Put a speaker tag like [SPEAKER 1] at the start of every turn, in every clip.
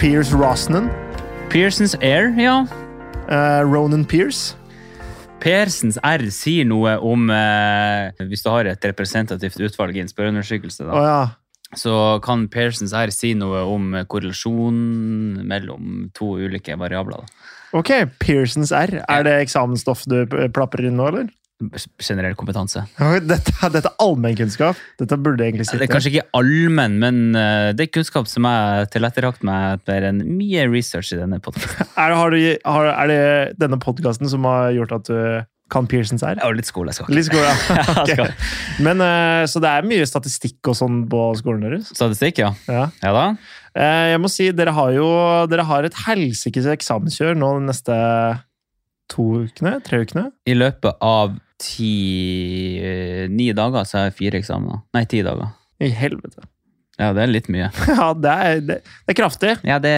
[SPEAKER 1] Pierce Rosnan.
[SPEAKER 2] Pearsons Air, ja.
[SPEAKER 1] eh, Ronan Pierce.
[SPEAKER 2] Pearsons R sier noe om eh, Hvis du har et representativt utvalg i en spørreundersøkelse,
[SPEAKER 1] Å
[SPEAKER 2] da,
[SPEAKER 1] ja.
[SPEAKER 2] så kan Pearsons R si noe om korrelasjon mellom to ulike variabler. Da.
[SPEAKER 1] Ok, Pearsons R. Er det eksamensstoff du eh, plapper inn nå, eller?
[SPEAKER 2] Generell kompetanse.
[SPEAKER 1] Oi, Dette, dette er allmennkunnskap. Dette burde egentlig
[SPEAKER 2] Det
[SPEAKER 1] sitte.
[SPEAKER 2] er kanskje ikke allmenn, men eh, det er kunnskap som jeg tilrettelagt meg etter en mye research i denne podkasten.
[SPEAKER 1] Er, har du, har, er det denne podkasten som har gjort at du kan Pearsons R?
[SPEAKER 2] Og litt skole, jeg skal ikke.
[SPEAKER 1] Litt skole, ja.
[SPEAKER 2] Jeg skal.
[SPEAKER 1] Ok. Men, eh, så det er mye statistikk og sånn på skolen deres?
[SPEAKER 2] Statistikk, ja.
[SPEAKER 1] Ja.
[SPEAKER 2] Ja da.
[SPEAKER 1] Eh, Jeg må si, dere har jo dere har et helsikes eksamenskjør nå de neste to ukene? Tre ukene?
[SPEAKER 2] I løpet av ti eh, Ni dager så har jeg fire eksamener. Nei, ti dager.
[SPEAKER 1] I helvete.
[SPEAKER 2] Ja, det er litt mye.
[SPEAKER 1] Ja, det er, det, det er kraftig.
[SPEAKER 2] Ja, det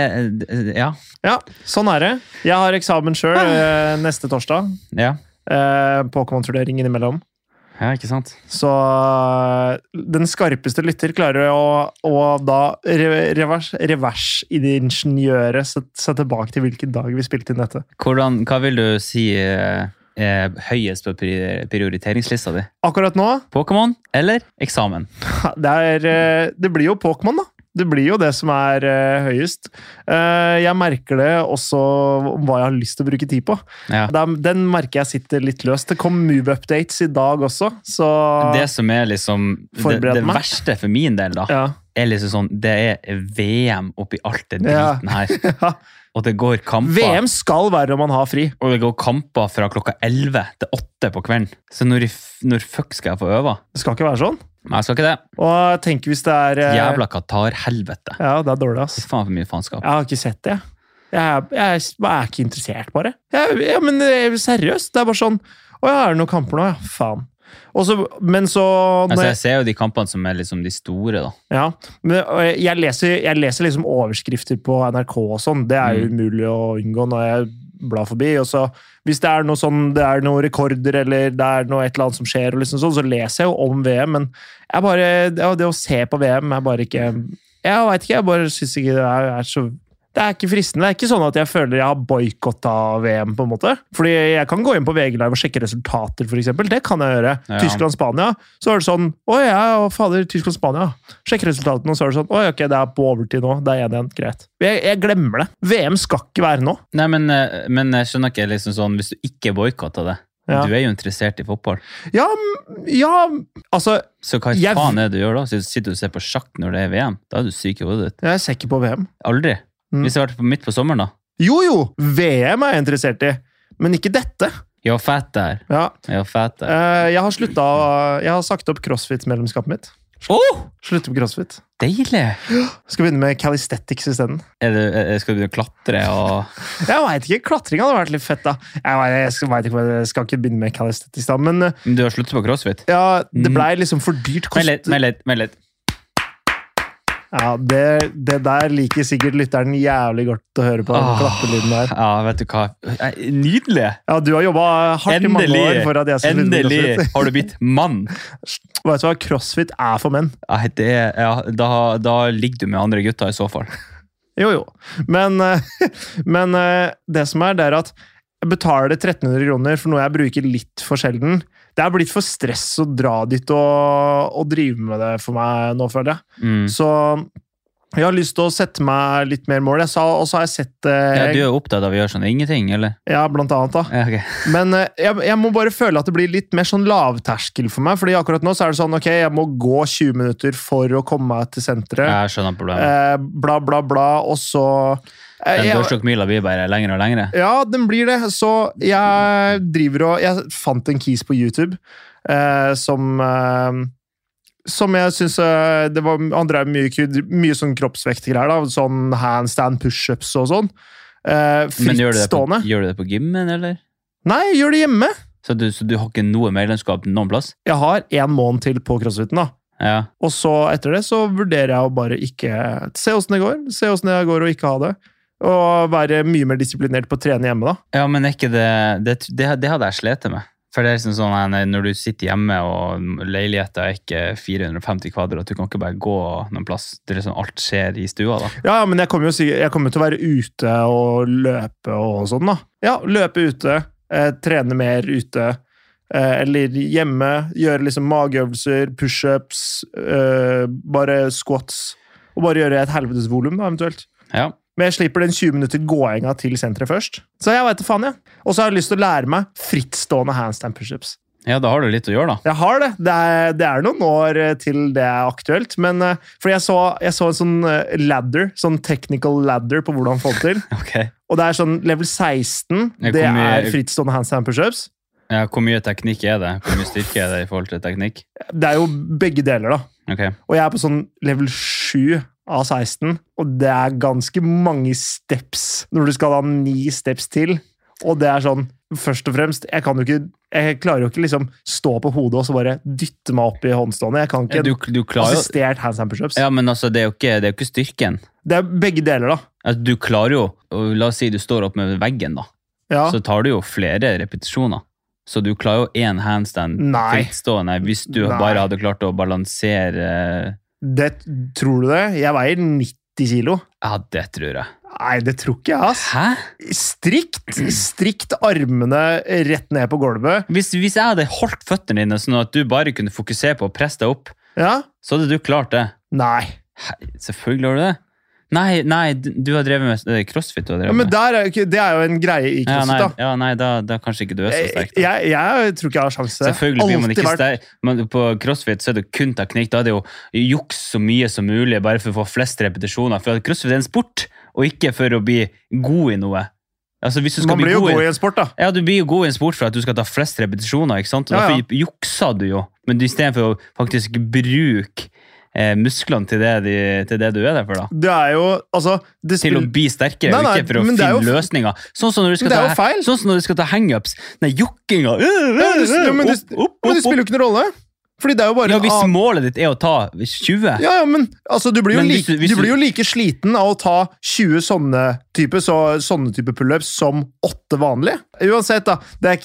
[SPEAKER 2] eh, Ja.
[SPEAKER 1] Ja, sånn er det. Jeg har eksamen sjøl eh, neste torsdag.
[SPEAKER 2] Ja,
[SPEAKER 1] Eh, Pokémon-turnering innimellom.
[SPEAKER 2] ja ikke sant?
[SPEAKER 1] Så eh, den skarpeste lytter klarer å, å da re- revers, reversiningeniøre seg se tilbake til hvilken dag vi spilte inn dette.
[SPEAKER 2] Hvordan, hva vil du si eh, er høyest på pri- prioriteringslista di?
[SPEAKER 1] Akkurat nå
[SPEAKER 2] Pokémon eller eksamen?
[SPEAKER 1] det, er, eh, det blir jo Pokémon, da. Det blir jo det som er eh, høyest. Eh, jeg merker det også hva jeg har lyst til å bruke tid på.
[SPEAKER 2] Ja.
[SPEAKER 1] Den, den merker jeg sitter litt løst. Det kom move-updates i dag også, så
[SPEAKER 2] Det som er liksom det,
[SPEAKER 1] Forbered
[SPEAKER 2] det
[SPEAKER 1] meg.
[SPEAKER 2] verste for min del, da,
[SPEAKER 1] ja.
[SPEAKER 2] er liksom sånn Det er VM oppi alt det
[SPEAKER 1] Ja.
[SPEAKER 2] driten her. Og det går kamper.
[SPEAKER 1] VM skal være om man har fri.
[SPEAKER 2] Og det går kamper fra klokka 11 til 8 på kvelden. Så når, i f- når fuck skal jeg få øve?
[SPEAKER 1] Det skal ikke være sånn.
[SPEAKER 2] Men jeg skal ikke det.
[SPEAKER 1] Og tenk hvis det er eh,
[SPEAKER 2] Jævla Qatar-helvete.
[SPEAKER 1] Ja, det er dårlig, ass.
[SPEAKER 2] Fy faen for mye faenskap.
[SPEAKER 1] Jeg har ikke sett det. Jeg, er- jeg, er- jeg er ikke interessert, bare. Jeg, ja, men eh, seriøst, det er bare sånn Å ja, er det noen kamper nå? Ja, faen. Og så, men så når
[SPEAKER 2] Altså,
[SPEAKER 1] jeg-
[SPEAKER 2] jeg ser jo de kampene som er liksom de store, da.
[SPEAKER 1] Ja, men øh, jeg leser, jeg leser liksom overskrifter på NRK og sånn. Det er jo umulig å unngå når jeg blar forbi. Og så, hvis det er noe sånn, det er noen rekorder eller det er noe et eller annet som skjer, og liksom sånn, så leser jeg jo om VM, men jeg bare, ja, det å se på VM er bare ikke Jeg veit ikke, jeg bare syns ikke det er, er så det er ikke fristende. Det er ikke sånn at jeg føler jeg har boikotta VM. på en måte. Fordi jeg kan gå inn på VG Live og sjekke resultater, f.eks. Det kan jeg gjøre.
[SPEAKER 2] Ja.
[SPEAKER 1] Tyskland-Spania. Så er det sånn Å ja, å, fader, Tyskland-Spania. Sjekk resultatene, og så er det sånn Å ja, ok, det er på overtid nå. Det er 1-1. Greit. Jeg, jeg glemmer det. VM skal ikke være nå.
[SPEAKER 2] Nei, men, eh, men jeg skjønner ikke liksom sånn, hvis du ikke boikotter det
[SPEAKER 1] Ja.
[SPEAKER 2] Du er jo interessert i fotball.
[SPEAKER 1] Ja, m- ja Altså,
[SPEAKER 2] Så hva
[SPEAKER 1] Jeg-
[SPEAKER 2] faen er det du gjør da? Sitter- Sitter du og ser på sjakk når det er VM? Da er du syk i hodet ditt.
[SPEAKER 1] jeg ser ikke på VM.
[SPEAKER 2] Aldri.
[SPEAKER 1] Mm.
[SPEAKER 2] Hvis jeg hadde vært på midt på sommeren, da.
[SPEAKER 1] Jo, jo! VM er jeg interessert i, men ikke dette.
[SPEAKER 2] Jeg var fett der.
[SPEAKER 1] Ja,
[SPEAKER 2] Jeg var fett der.
[SPEAKER 1] eh, Jeg har slutta Jeg har sagt opp crossfit-medlemskapet mitt.
[SPEAKER 2] Åh!
[SPEAKER 1] Slutte med crossfit.
[SPEAKER 2] Deilig!
[SPEAKER 1] Skal begynne med calisthetics isteden.
[SPEAKER 2] Er du, er, skal du begynne å klatre og
[SPEAKER 1] Jeg veit ikke. Klatring hadde vært litt fett, da. Jeg, vet, jeg, skal, vet ikke, jeg skal ikke begynne med calisthetics, da. Men eh,
[SPEAKER 2] Men Du har sluttet på crossfit?
[SPEAKER 1] ja,
[SPEAKER 2] Mm.
[SPEAKER 1] det blei liksom for dyrt. Kost-
[SPEAKER 2] Vent litt, vent litt. vent litt.
[SPEAKER 1] Ja, det, det der liker sikkert lytteren jævlig godt å høre på. den
[SPEAKER 2] Åh.
[SPEAKER 1] klappelyden der.
[SPEAKER 2] Ja, vet du hva. Nei, Nydelig!
[SPEAKER 1] Ja, Du har jobba hardt i mange år
[SPEAKER 2] Endelig,
[SPEAKER 1] for at jeg skal slutte med
[SPEAKER 2] endelig
[SPEAKER 1] crossfit.
[SPEAKER 2] har du blitt mann!
[SPEAKER 1] Vet du hva crossfit er for menn?
[SPEAKER 2] Nei, det, ja, da, da ligger du med andre gutter i så fall.
[SPEAKER 1] Jo, jo. Men, eh, men eh, det som er, det er at jeg betaler 1300 kroner for noe jeg bruker litt for sjelden. Det er blitt for stress å dra dit og, og drive med det for meg nå, føler jeg.
[SPEAKER 2] Mm.
[SPEAKER 1] Så jeg har lyst til å sette meg litt mer mål. Jeg sa, og så har jeg sett
[SPEAKER 2] Ja,
[SPEAKER 1] eh,
[SPEAKER 2] du er opptatt av å gjøre sånn ingenting, eller?
[SPEAKER 1] ja, blant annet, da.
[SPEAKER 2] Ja, ok.
[SPEAKER 1] Men eh, jeg, jeg må bare føle at det blir litt mer sånn lavterskel for meg. fordi akkurat nå så er det sånn ok, jeg må gå 20 minutter for å komme meg til senteret.
[SPEAKER 2] Jeg skjønner problemet.
[SPEAKER 1] Eh, bla, bla, bla, og så eh,
[SPEAKER 2] Den
[SPEAKER 1] jeg-
[SPEAKER 2] dørstokkmila blir bare lengre og lengre.
[SPEAKER 1] Ja, den blir det. Så jeg driver og Jeg fant en keys på YouTube eh, som eh, som jeg syns det var Han drev mye, kud- mye sånn kroppsvektgreier. da, Sånn handstand, pushups og sånn. Eh,
[SPEAKER 2] Men gjør du, det på,
[SPEAKER 1] Frittstående.
[SPEAKER 2] gjør du det på gymmen, eller?
[SPEAKER 1] Nei, jeg gjør det hjemme!
[SPEAKER 2] Så du, så du har ikke noe medlemskap noen plass?
[SPEAKER 1] Jeg har én måned til på crossfiten. da.
[SPEAKER 2] Ja.
[SPEAKER 1] Og så etter det så vurderer jeg å bare ikke Se åssen det går. Se åssen det går å ikke ha det. Og være mye mer disiplinert på å trene hjemme, da.
[SPEAKER 2] ja, men er ikke det det, det det hadde jeg slitt med. For det er liksom sånn eh, Når du sitter hjemme og leiligheten er ikke 450 kvadrat, du kan ikke bare gå noen plass. Det er liksom alt skjer i stua, da.
[SPEAKER 1] Ja, ja, men jeg kommer jo sikkert, jeg kommer til å være ute og løpe og sånn, da. Ja, løpe ute, eh, trene mer ute. Eh, eller hjemme, gjøre liksom mageøvelser, pushups, eh, bare squats. Og bare gjøre et helvetes volum, da, eventuelt.
[SPEAKER 2] Ja.
[SPEAKER 1] Men jeg slipper den 20 minutter gåinga til senteret først. Så jeg vet det faen, jeg. Og så har jeg lyst til å lære meg frittstående handstand pushups.
[SPEAKER 2] ja, da har du litt å gjøre, da.
[SPEAKER 1] Jeg har det. Det er, det er noen år eh, til det er aktuelt. Men eh, fordi jeg så, jeg så en sånn eh, ladder, sånn technical ladder på hvordan få det til.
[SPEAKER 2] Ok.
[SPEAKER 1] Og det er sånn level 16,
[SPEAKER 2] Jeg
[SPEAKER 1] det
[SPEAKER 2] kom i-
[SPEAKER 1] er frittstående handstand pushups.
[SPEAKER 2] Ja, hvor mye teknikk er det? Hvor mye styrke er det i forhold til teknikk?
[SPEAKER 1] Det er jo begge deler, da.
[SPEAKER 2] Ok.
[SPEAKER 1] Og jeg er på sånn level 7 av 16, og det er ganske mange steps når du skal ha ni steps til. Og det er sånn Først og fremst, jeg kan jo ikke Jeg klarer jo ikke liksom stå på hodet og så bare dytte meg opp i håndstående. Jeg kan ikke
[SPEAKER 2] Du, du klarer jo
[SPEAKER 1] assistert handstand pushups.
[SPEAKER 2] Ja, men altså, det er jo ikke, det er jo ikke styrken.
[SPEAKER 1] Det er begge deler, da.
[SPEAKER 2] Altså, du klarer jo og La oss si du står opp med veggen, da.
[SPEAKER 1] Ja.
[SPEAKER 2] Så tar du jo flere repetisjoner. Så du klarer jo én handstand
[SPEAKER 1] Nei.
[SPEAKER 2] frittstående hvis du
[SPEAKER 1] Nei.
[SPEAKER 2] bare hadde klart å balansere
[SPEAKER 1] Det, tror du det? Jeg veier 90 kilo.
[SPEAKER 2] Ja, det tror jeg.
[SPEAKER 1] Nei, det tror ikke jeg, ass.
[SPEAKER 2] Hæ?
[SPEAKER 1] Strikt, strikt armene rett ned på gulvet.
[SPEAKER 2] Hvis, hvis jeg hadde holdt føttene dine sånn at du bare kunne fokusere på å presse deg opp,
[SPEAKER 1] Ja?
[SPEAKER 2] så hadde du klart det.
[SPEAKER 1] Nei.
[SPEAKER 2] Hæ? Selvfølgelig har du det. Nei, nei, du du har drevet med det er crossfit. du har
[SPEAKER 1] Ja,
[SPEAKER 2] drevet
[SPEAKER 1] men
[SPEAKER 2] med.
[SPEAKER 1] der er, jo ikke- det er jo en greie i
[SPEAKER 2] Ja,
[SPEAKER 1] crossfit,
[SPEAKER 2] nei,
[SPEAKER 1] da.
[SPEAKER 2] ja, nei da, da kanskje ikke du er så
[SPEAKER 1] Jeg,
[SPEAKER 2] sterk.
[SPEAKER 1] jeg,
[SPEAKER 2] da.
[SPEAKER 1] jeg tror ikke jeg har sjanse.
[SPEAKER 2] Selvfølgelig blir man
[SPEAKER 1] Alltid
[SPEAKER 2] ikke
[SPEAKER 1] vært-
[SPEAKER 2] sterk, men på crossfit så er det kun teknikk. Da er det jo juks så mye som mulig, bare for å få flest repetisjoner. For at crossfit er en sport, og ikke for å bli god i noe. Altså, hvis du skal bli
[SPEAKER 1] Man blir jo
[SPEAKER 2] god,
[SPEAKER 1] god i
[SPEAKER 2] i
[SPEAKER 1] en sport, da.
[SPEAKER 2] ja, Du blir jo god i en sport for at du skal ta flest repetisjoner, ikke sant? Og
[SPEAKER 1] Ja, ja.
[SPEAKER 2] derfor jukser du jo. Men du- i stedet for å faktisk bruke eh, musklene til det, de, til det du er der for, da.
[SPEAKER 1] Det er jo Altså det
[SPEAKER 2] Til å
[SPEAKER 1] spill-
[SPEAKER 2] bli sterkere,
[SPEAKER 1] Nei, nei,
[SPEAKER 2] ikke for å
[SPEAKER 1] men det
[SPEAKER 2] finne
[SPEAKER 1] er jo-
[SPEAKER 2] løsninger. Sånn som når du skal
[SPEAKER 1] Men det er jo
[SPEAKER 2] ta,
[SPEAKER 1] feil.
[SPEAKER 2] sånn som når du skal ta hangups. Nei, jukkinga!
[SPEAKER 1] Ja, men det- ja, men det-
[SPEAKER 2] øh, Opp, opp,
[SPEAKER 1] Men
[SPEAKER 2] opp, opp.
[SPEAKER 1] det spiller jo ikke noen rolle. Fordi det er jo bare
[SPEAKER 2] Ja,
[SPEAKER 1] en
[SPEAKER 2] hvis
[SPEAKER 1] annen-
[SPEAKER 2] målet ditt er å ta 20
[SPEAKER 1] Ja, ja, men altså, du, blir jo
[SPEAKER 2] Men hvis
[SPEAKER 1] like,
[SPEAKER 2] du- hvis
[SPEAKER 1] du
[SPEAKER 2] du-
[SPEAKER 1] blir jo like sliten av å ta 20 sånne type, så, sånne type pullups som åtte vanlige. Uansett, da. Det er,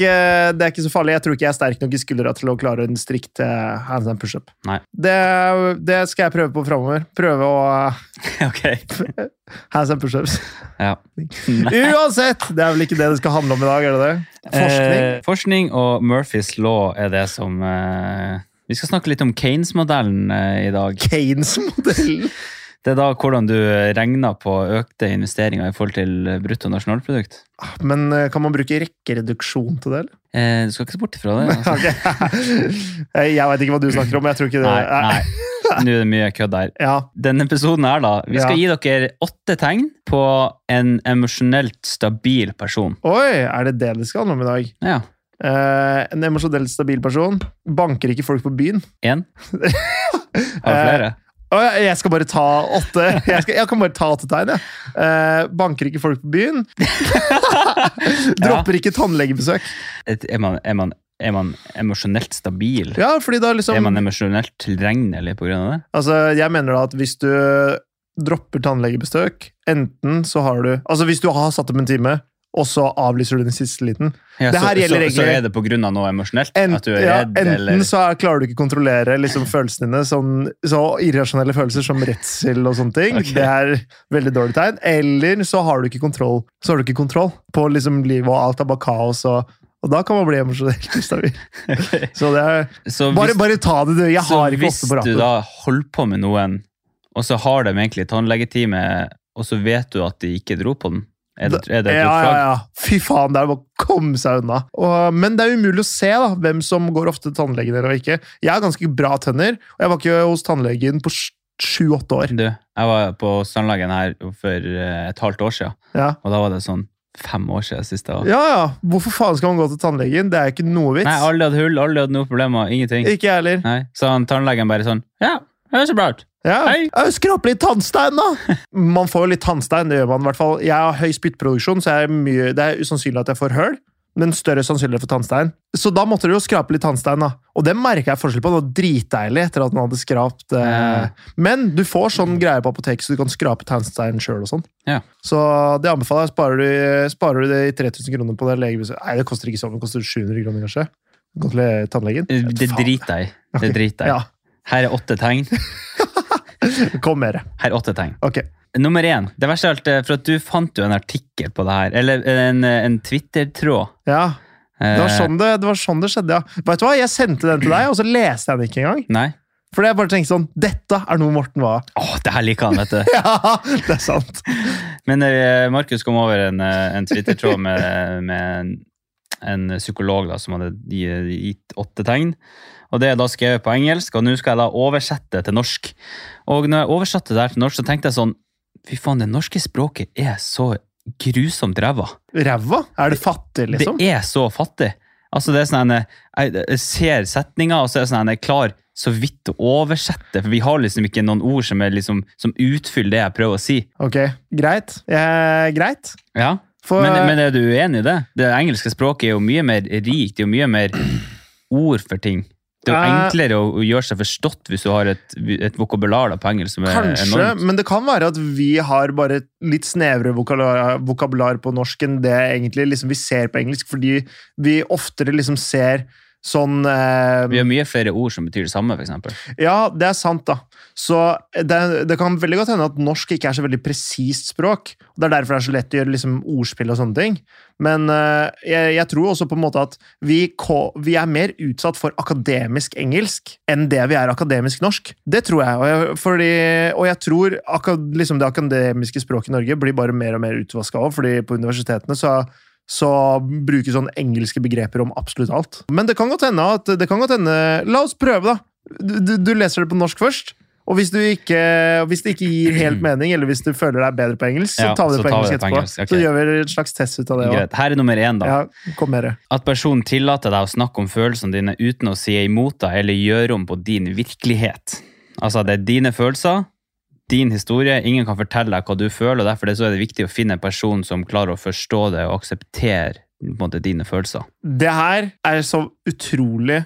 [SPEAKER 1] ikke, det er ikke så farlig. Jeg tror ikke jeg er sterk nok i skuldra til å klare en strikt eh, handstand pushup.
[SPEAKER 2] Nei.
[SPEAKER 1] Det, det skal jeg prøve på framover. Prøve å eh,
[SPEAKER 2] Ok.
[SPEAKER 1] handstand pushups.
[SPEAKER 2] Ja.
[SPEAKER 1] Uansett! Det er vel ikke det det skal handle om i dag, er det det? Forskning.
[SPEAKER 2] Eh, forskning og Murphys law er det som eh, Vi skal snakke litt om Keynes-modellen eh, i dag.
[SPEAKER 1] Keynes-modellen.
[SPEAKER 2] Det er da hvordan du eh, regner på økte investeringer i forhold til bruttonasjonalprodukt.
[SPEAKER 1] Men eh, kan man bruke rekkereduksjon til det, eller?
[SPEAKER 2] Eh, du skal ikke se bort ifra det. Altså.
[SPEAKER 1] Ok. Eh, Jeg veit ikke hva du snakker om, men jeg tror ikke det Eh,
[SPEAKER 2] Nei, nei. Nå er det mye kødd der.
[SPEAKER 1] Ja,
[SPEAKER 2] Denne episoden her, da. Vi skal gi dere åtte tegn på en emosjonelt stabil person.
[SPEAKER 1] Oi, er det det det skal handle om i dag?
[SPEAKER 2] Ja.
[SPEAKER 1] Eh, en emosjonelt stabil person. Banker ikke folk på byen.
[SPEAKER 2] Én? Har du flere?
[SPEAKER 1] Å, jeg- jeg skal bare ta åtte. Jeg, skal, jeg kan bare ta åtte tegn, jeg. Eh, banker ikke folk på byen. Dropper ikke tannlegebesøk.
[SPEAKER 2] Et- Er man, er man, er man emosjonelt stabil?
[SPEAKER 1] Ja, fordi da
[SPEAKER 2] Er man
[SPEAKER 1] liksom
[SPEAKER 2] emosjonelt tilregnelig på grunn av det?
[SPEAKER 1] Altså, jeg mener da at hvis du dropper tannlegebesøk, enten så har du Altså, hvis du har satt opp en time, og så avlyser du den siste liten
[SPEAKER 2] Ja,
[SPEAKER 1] Det her
[SPEAKER 2] så, så,
[SPEAKER 1] gjelder
[SPEAKER 2] så
[SPEAKER 1] egentlig-
[SPEAKER 2] er det på grunn av noe emosjonelt?
[SPEAKER 1] Enten,
[SPEAKER 2] at du er redd,
[SPEAKER 1] ja, enten
[SPEAKER 2] eller
[SPEAKER 1] så er, klarer du ikke å kontrollere liksom, følelsene dine, sånn, så irrasjonelle følelser som redsel og sånne ting.
[SPEAKER 2] Ok.
[SPEAKER 1] Det er veldig dårlig tegn. Eller så har du ikke kontroll, så har du ikke kontroll på liksom, livet, og alt er bare kaos. Og, og da kan man bli emosjonelt ustabil. Så det er,
[SPEAKER 2] så hvis,
[SPEAKER 1] bare, bare ta det, du. Jeg
[SPEAKER 2] så
[SPEAKER 1] har ikke
[SPEAKER 2] hvis
[SPEAKER 1] åtte på
[SPEAKER 2] du
[SPEAKER 1] rattet.
[SPEAKER 2] da holder på med noen, og så har de egentlig tannlegetime, og så vet du at de ikke dro på den? Er det, er det et rødt
[SPEAKER 1] Ja, ja,
[SPEAKER 2] flagg?
[SPEAKER 1] ja. Fy faen, det er bare å komme seg unna. Og, men det er umulig å se da, hvem som går ofte til tannlegen eller ikke. Jeg har ganske bra tenner, og jeg var ikke hos tannlegen på sju-åtte år.
[SPEAKER 2] Du, jeg var på tannlegen her for eh, et halvt år siden,
[SPEAKER 1] Ja.
[SPEAKER 2] og da var det sånn fem år siden sist jeg var
[SPEAKER 1] Ja, ja. Hvorfor faen skal man gå til tannlegen? Det er ikke noe vits.
[SPEAKER 2] Nei, alle hadde hull, alle hadde noen problemer, ingenting.
[SPEAKER 1] Ikke jeg heller.
[SPEAKER 2] Nei. Så han tannlegen bare sånn Ja, det er så bra ut.
[SPEAKER 1] Ja.
[SPEAKER 2] Hei.
[SPEAKER 1] Ja, Skrap litt tannstein, da! Man får jo litt tannstein, det gjør man i hvert fall. Jeg har høy spyttproduksjon, så jeg er mye, det er usannsynlig at jeg får høl. Men større sannsynlighet for tannstein. Så da måtte du jo skrape litt tannstein. da. Og det merka jeg forskjell på. Det var dritdeilig etter at man hadde skrapt.
[SPEAKER 2] Ja.
[SPEAKER 1] Eh. Men du får sånn greie på apoteket, så du kan skrape tannstein sjøl og sånn.
[SPEAKER 2] Ja.
[SPEAKER 1] Så det anbefaler jeg. Sparer du, sparer du det i 3000 kroner på det legebesøket Nei, det koster ikke sånn, det koster 700 kroner, kanskje. Gå til tannlegen?
[SPEAKER 2] Det
[SPEAKER 1] Faen.
[SPEAKER 2] driter jeg i. Det driter jeg i.
[SPEAKER 1] Ja.
[SPEAKER 2] Her er åtte tegn.
[SPEAKER 1] Kom mer.
[SPEAKER 2] Her er åtte tegn.
[SPEAKER 1] Ok.
[SPEAKER 2] Nummer én. Det verste av alt er for at du fant jo en artikkel på det her. Eller en, en Twitter-tråd.
[SPEAKER 1] Ja, det var,
[SPEAKER 2] Eh,
[SPEAKER 1] sånn det, det var sånn det skjedde, ja. Vet du hva? Jeg sendte den til deg, og så leste jeg den ikke engang.
[SPEAKER 2] Nei?
[SPEAKER 1] Fordi jeg bare tenkte sånn Dette er noe Morten var.
[SPEAKER 2] Åh, det her liker han, vet du.
[SPEAKER 1] Ja, det er sant.
[SPEAKER 2] Men eh, Markus kom over en, eh, en Twitter-tråd med, med en, en psykolog da, som hadde gi- gitt åtte tegn. Og det er da skrevet på engelsk, og nå skal jeg da oversette til norsk. Og når jeg oversatte det her til norsk, så tenkte jeg sånn Fy faen, det norske språket er så grusomt ræva.
[SPEAKER 1] Ræva? Er det fattig, liksom?
[SPEAKER 2] Det er så fattig. Altså, det er sånn en, jeg, jeg ser setninga, og så er det sånn en, jeg klarer så vidt å oversette. For vi har liksom ikke noen ord som, er liksom, som utfyller det jeg prøver å si.
[SPEAKER 1] Ok, greit. Eh, greit.
[SPEAKER 2] Ja,
[SPEAKER 1] For
[SPEAKER 2] men, men er du uenig i det? Det engelske språket er jo mye mer rikt, det er jo mye mer ord for ting. Det er jo
[SPEAKER 1] Eh.
[SPEAKER 2] enklere å å gjøre seg forstått hvis du har et, et vokabular da, på engelsk som er
[SPEAKER 1] kanskje,
[SPEAKER 2] enormt.
[SPEAKER 1] men det kan være at vi har bare et litt snevrere vokabular, vokabular på norsk enn det egentlig liksom vi ser på engelsk, fordi vi oftere liksom ser sånn eh,
[SPEAKER 2] Vi har mye flere ord som betyr det samme, for eksempel.
[SPEAKER 1] Ja, det er sant, da. Så det, det kan veldig godt hende at norsk ikke er så veldig presist språk. og Det er derfor det er så lett å gjøre liksom, ordspill og sånne ting. Men eh, jeg, jeg tror også på en måte at vi, ko- vi er mer utsatt for akademisk engelsk enn det vi er akademisk norsk. Det tror jeg. Og jeg, fordi, og jeg tror aka- liksom, det akademiske språket i Norge blir bare mer og mer utvaska òg, fordi på universitetene så så bruker sånn engelske begreper om absolutt alt. Men det kan godt hende at det kan godt hende, La oss prøve, da. Du, du, du leser det på norsk først. Og hvis, du ikke, hvis det ikke gir helt mening, eller hvis du føler deg bedre på engelsk, så
[SPEAKER 2] Ja,
[SPEAKER 1] tar vi det
[SPEAKER 2] så
[SPEAKER 1] på
[SPEAKER 2] tar
[SPEAKER 1] engelsk
[SPEAKER 2] vi det på
[SPEAKER 1] etterpå.
[SPEAKER 2] engelsk, ok.
[SPEAKER 1] Så gjør vi en slags test ut av det. også.
[SPEAKER 2] Greit. Her er nummer én, da.
[SPEAKER 1] Ja, kom med det.
[SPEAKER 2] At personen tillater deg å snakke om følelsene dine uten å si imot deg eller gjøre om på din virkelighet. Altså, det er dine følelser, din historie, ingen kan fortelle deg hva du føler, og derfor det- så er det viktig å finne en person som klarer å forstå det og akseptere på en måte, dine følelser.
[SPEAKER 1] Det her er jeg så utrolig,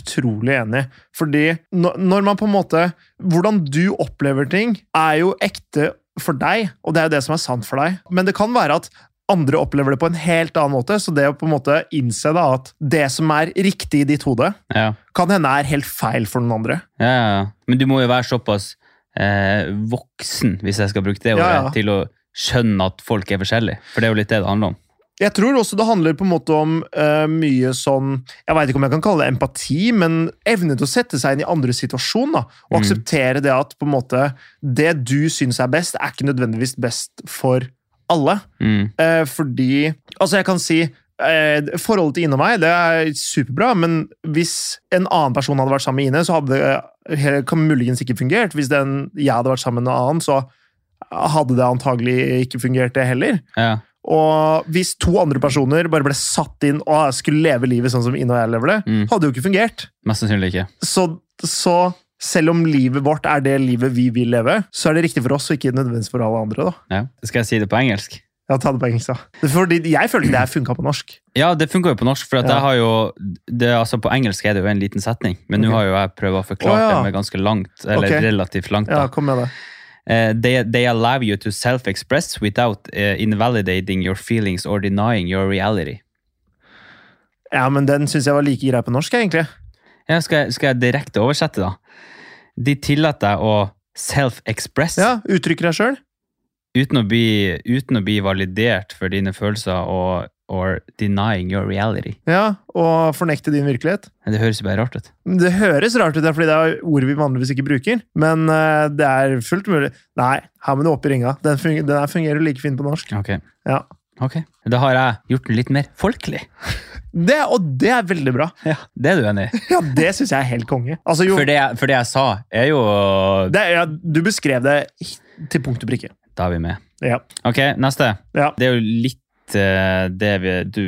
[SPEAKER 1] utrolig enig. i. Fordi når, når man på en måte Hvordan du opplever ting, er jo ekte for deg, og det er jo det som er sant for deg. Men det kan være at andre opplever det på en helt annen måte, så det å på en måte innse da at det som er riktig i ditt hode,
[SPEAKER 2] Ja,
[SPEAKER 1] kan hende er helt feil for noen andre.
[SPEAKER 2] ja, ja. ja. Men du må jo være såpass eh, voksen, hvis jeg skal bruke det ordet,
[SPEAKER 1] Ja, ja.
[SPEAKER 2] til å skjønne at folk er forskjellige. For det er jo litt det det handler om.
[SPEAKER 1] Jeg tror også det handler på en måte om eh, mye sånn Jeg veit ikke om jeg kan kalle det empati, men evne til å sette seg inn i andres situasjon. da, Og
[SPEAKER 2] Mm.
[SPEAKER 1] akseptere det at på en måte det du syns er best, er ikke nødvendigvis best for alle.
[SPEAKER 2] Mm.
[SPEAKER 1] Eh, fordi Altså, jeg kan si eh, Forholdet til Ine og meg det er superbra, men hvis en annen person hadde vært sammen med Ine, så hadde det eh, he- kan muligens ikke fungert. Hvis den, jeg hadde vært sammen med en annen, så hadde det antagelig ikke fungert, det heller.
[SPEAKER 2] Ja.
[SPEAKER 1] Og hvis to andre personer bare ble satt inn og skulle leve livet sånn som Ine og jeg lever det,
[SPEAKER 2] Mm.
[SPEAKER 1] hadde jo ikke fungert.
[SPEAKER 2] Mest sannsynlig ikke.
[SPEAKER 1] Så, så selv om livet vårt er det livet vi vil leve, så er det riktig for oss og ikke nødvendigvis for alle andre. da.
[SPEAKER 2] Ja. Skal jeg si det på engelsk?
[SPEAKER 1] Ja, ta det på engelsk, da. Fordi jeg føler ikke det her funka på norsk.
[SPEAKER 2] Ja, det funker jo på norsk, for at
[SPEAKER 1] Ja.
[SPEAKER 2] jeg har jo det, altså På engelsk er det jo en liten setning, men nå
[SPEAKER 1] Ok.
[SPEAKER 2] har jo jeg prøvd å forklare
[SPEAKER 1] Å, ja.
[SPEAKER 2] det med ganske langt, eller
[SPEAKER 1] Ok.
[SPEAKER 2] relativt langt.
[SPEAKER 1] Ja,
[SPEAKER 2] da.
[SPEAKER 1] kom med det.
[SPEAKER 2] Eh, they, they allow you to self-express without eh, invalidating your feelings or denying your reality.
[SPEAKER 1] Ja, men den syns jeg var like grei på norsk, egentlig.
[SPEAKER 2] Ja, skal, jeg, skal jeg direkte oversette, da? De tillater deg å self-express
[SPEAKER 1] Ja, Uttrykker deg sjøl.
[SPEAKER 2] uten, å bli- uten å bli validert for dine følelser og or denying your reality.
[SPEAKER 1] Ja, og fornekte din virkelighet.
[SPEAKER 2] Det høres jo bare rart ut.
[SPEAKER 1] Det høres rart ut, det er fordi det er ord vi vanligvis ikke bruker, men eh, det er fullt mulig. Nei, her må du opp i ringa. Den, fung den her fungerer like fint på norsk.
[SPEAKER 2] Ok.
[SPEAKER 1] Ja.
[SPEAKER 2] Ok. Da har jeg gjort den litt mer folkelig.
[SPEAKER 1] Det, og det er veldig bra.
[SPEAKER 2] Det er du enig i?
[SPEAKER 1] Ja, det syns jeg er helt konge. Altså, jo,
[SPEAKER 2] For det, jeg- for det jeg sa, er jo
[SPEAKER 1] det, ja, du beskrev det til punkt og prikke.
[SPEAKER 2] Da er vi med.
[SPEAKER 1] Ja.
[SPEAKER 2] Ok, neste.
[SPEAKER 1] Ja.
[SPEAKER 2] Det er jo litt eh, det vi, du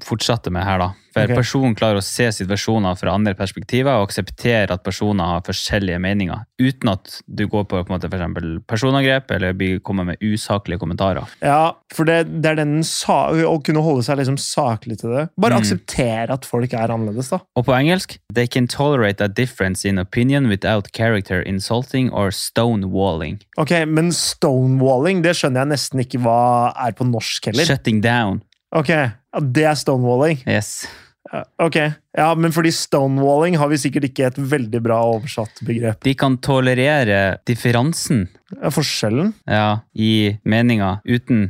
[SPEAKER 2] fortsatte med her, da. For
[SPEAKER 1] Ok.
[SPEAKER 2] personen klarer å se situasjoner fra andre perspektiver og akseptere at personer har forskjellige meninger, uten at du går på, på en måte, for eksempel personangrep eller blir- kommer med usaklige kommentarer.
[SPEAKER 1] Ja, for det, det er den sa å kunne holde seg liksom saklig til det. Bare
[SPEAKER 2] Mm.
[SPEAKER 1] akseptere at folk er annerledes, da.
[SPEAKER 2] Og på engelsk They can tolerate a difference in opinion without character insulting or stonewalling.
[SPEAKER 1] Ok, Men stonewalling det skjønner jeg nesten ikke hva er på norsk heller.
[SPEAKER 2] Shutting down.
[SPEAKER 1] Ok, ja, Det er stonewalling.
[SPEAKER 2] Yes.
[SPEAKER 1] Ja, Ok, ja, men fordi stonewalling har vi sikkert ikke et veldig bra oversatt begrep.
[SPEAKER 2] De kan tolerere differansen
[SPEAKER 1] Ja, forskjellen?
[SPEAKER 2] ja, i meninga uten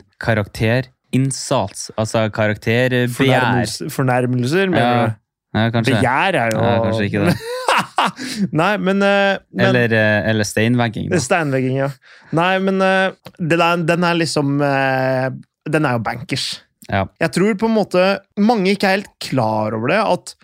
[SPEAKER 2] karakterinnsats, altså karakterbegjær.
[SPEAKER 1] Fornærmelser, fornærmelser mener
[SPEAKER 2] Ja, ja,
[SPEAKER 1] du?
[SPEAKER 2] kanskje.
[SPEAKER 1] Begjær er jo
[SPEAKER 2] Ja, kanskje ikke det.
[SPEAKER 1] Nei, men, eh, men
[SPEAKER 2] Eller, eh, eller steinvegging. da.
[SPEAKER 1] Steinvegging, ja. Nei, men eh, det der, den er liksom eh, Den er jo bankers.
[SPEAKER 2] Ja.
[SPEAKER 1] Jeg tror på en måte mange ikke er helt klar over det. at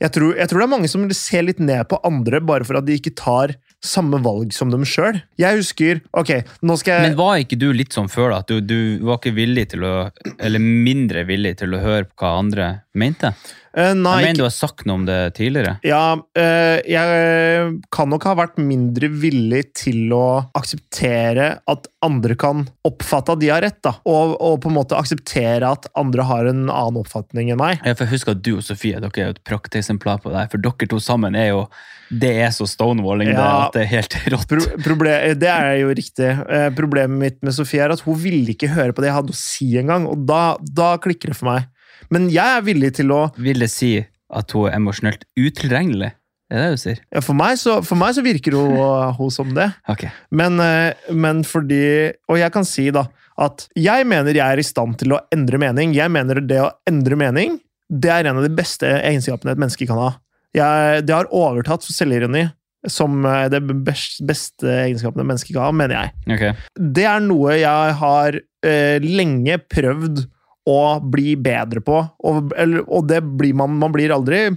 [SPEAKER 1] jeg tror, jeg tror det er mange som ser litt ned på andre bare for at de ikke tar samme valg som dem sjøl. Jeg husker Ok, nå skal jeg
[SPEAKER 2] Men var ikke du litt sånn før, da? At du, du var ikke villig til å Eller mindre villig til å høre på hva andre mente?
[SPEAKER 1] Eh, Nei,
[SPEAKER 2] Jeg
[SPEAKER 1] ikke-
[SPEAKER 2] mener du har sagt noe om det tidligere.
[SPEAKER 1] Ja, øh, jeg kan nok ha vært mindre villig til å akseptere at andre kan oppfatte at de har rett, da. Og, og på en måte akseptere at andre har en annen oppfatning enn meg.
[SPEAKER 2] Ja, for jeg husker at du og Sofie dere er jo et prakteksemplar på det. her, For dere to sammen er jo Det er så stonewalling det,
[SPEAKER 1] Ja.
[SPEAKER 2] at det er helt rått.
[SPEAKER 1] Pro proble- det er jo riktig. Eh, Problemet mitt med Sofie er at hun ville ikke høre på det jeg hadde å si engang, og da, da klikker det for meg. Men jeg er villig til å
[SPEAKER 2] Vil det si at hun er emosjonelt utilregnelig? Er det det du sier?
[SPEAKER 1] ja, For meg så, for meg så virker hun, hun som det.
[SPEAKER 2] Ok.
[SPEAKER 1] Men, eh, men fordi Og jeg kan si da at jeg mener jeg er i stand til å endre mening. Jeg mener det å endre mening det er en av de beste egenskapene et menneske kan ha. Jeg, det har overtatt for selvironi som eh, det bes- beste egenskapen et menneske kan ha, mener jeg.
[SPEAKER 2] ok.
[SPEAKER 1] Det er noe jeg har eh, lenge prøvd å bli bedre på, og, eller, og det blir man Man blir aldri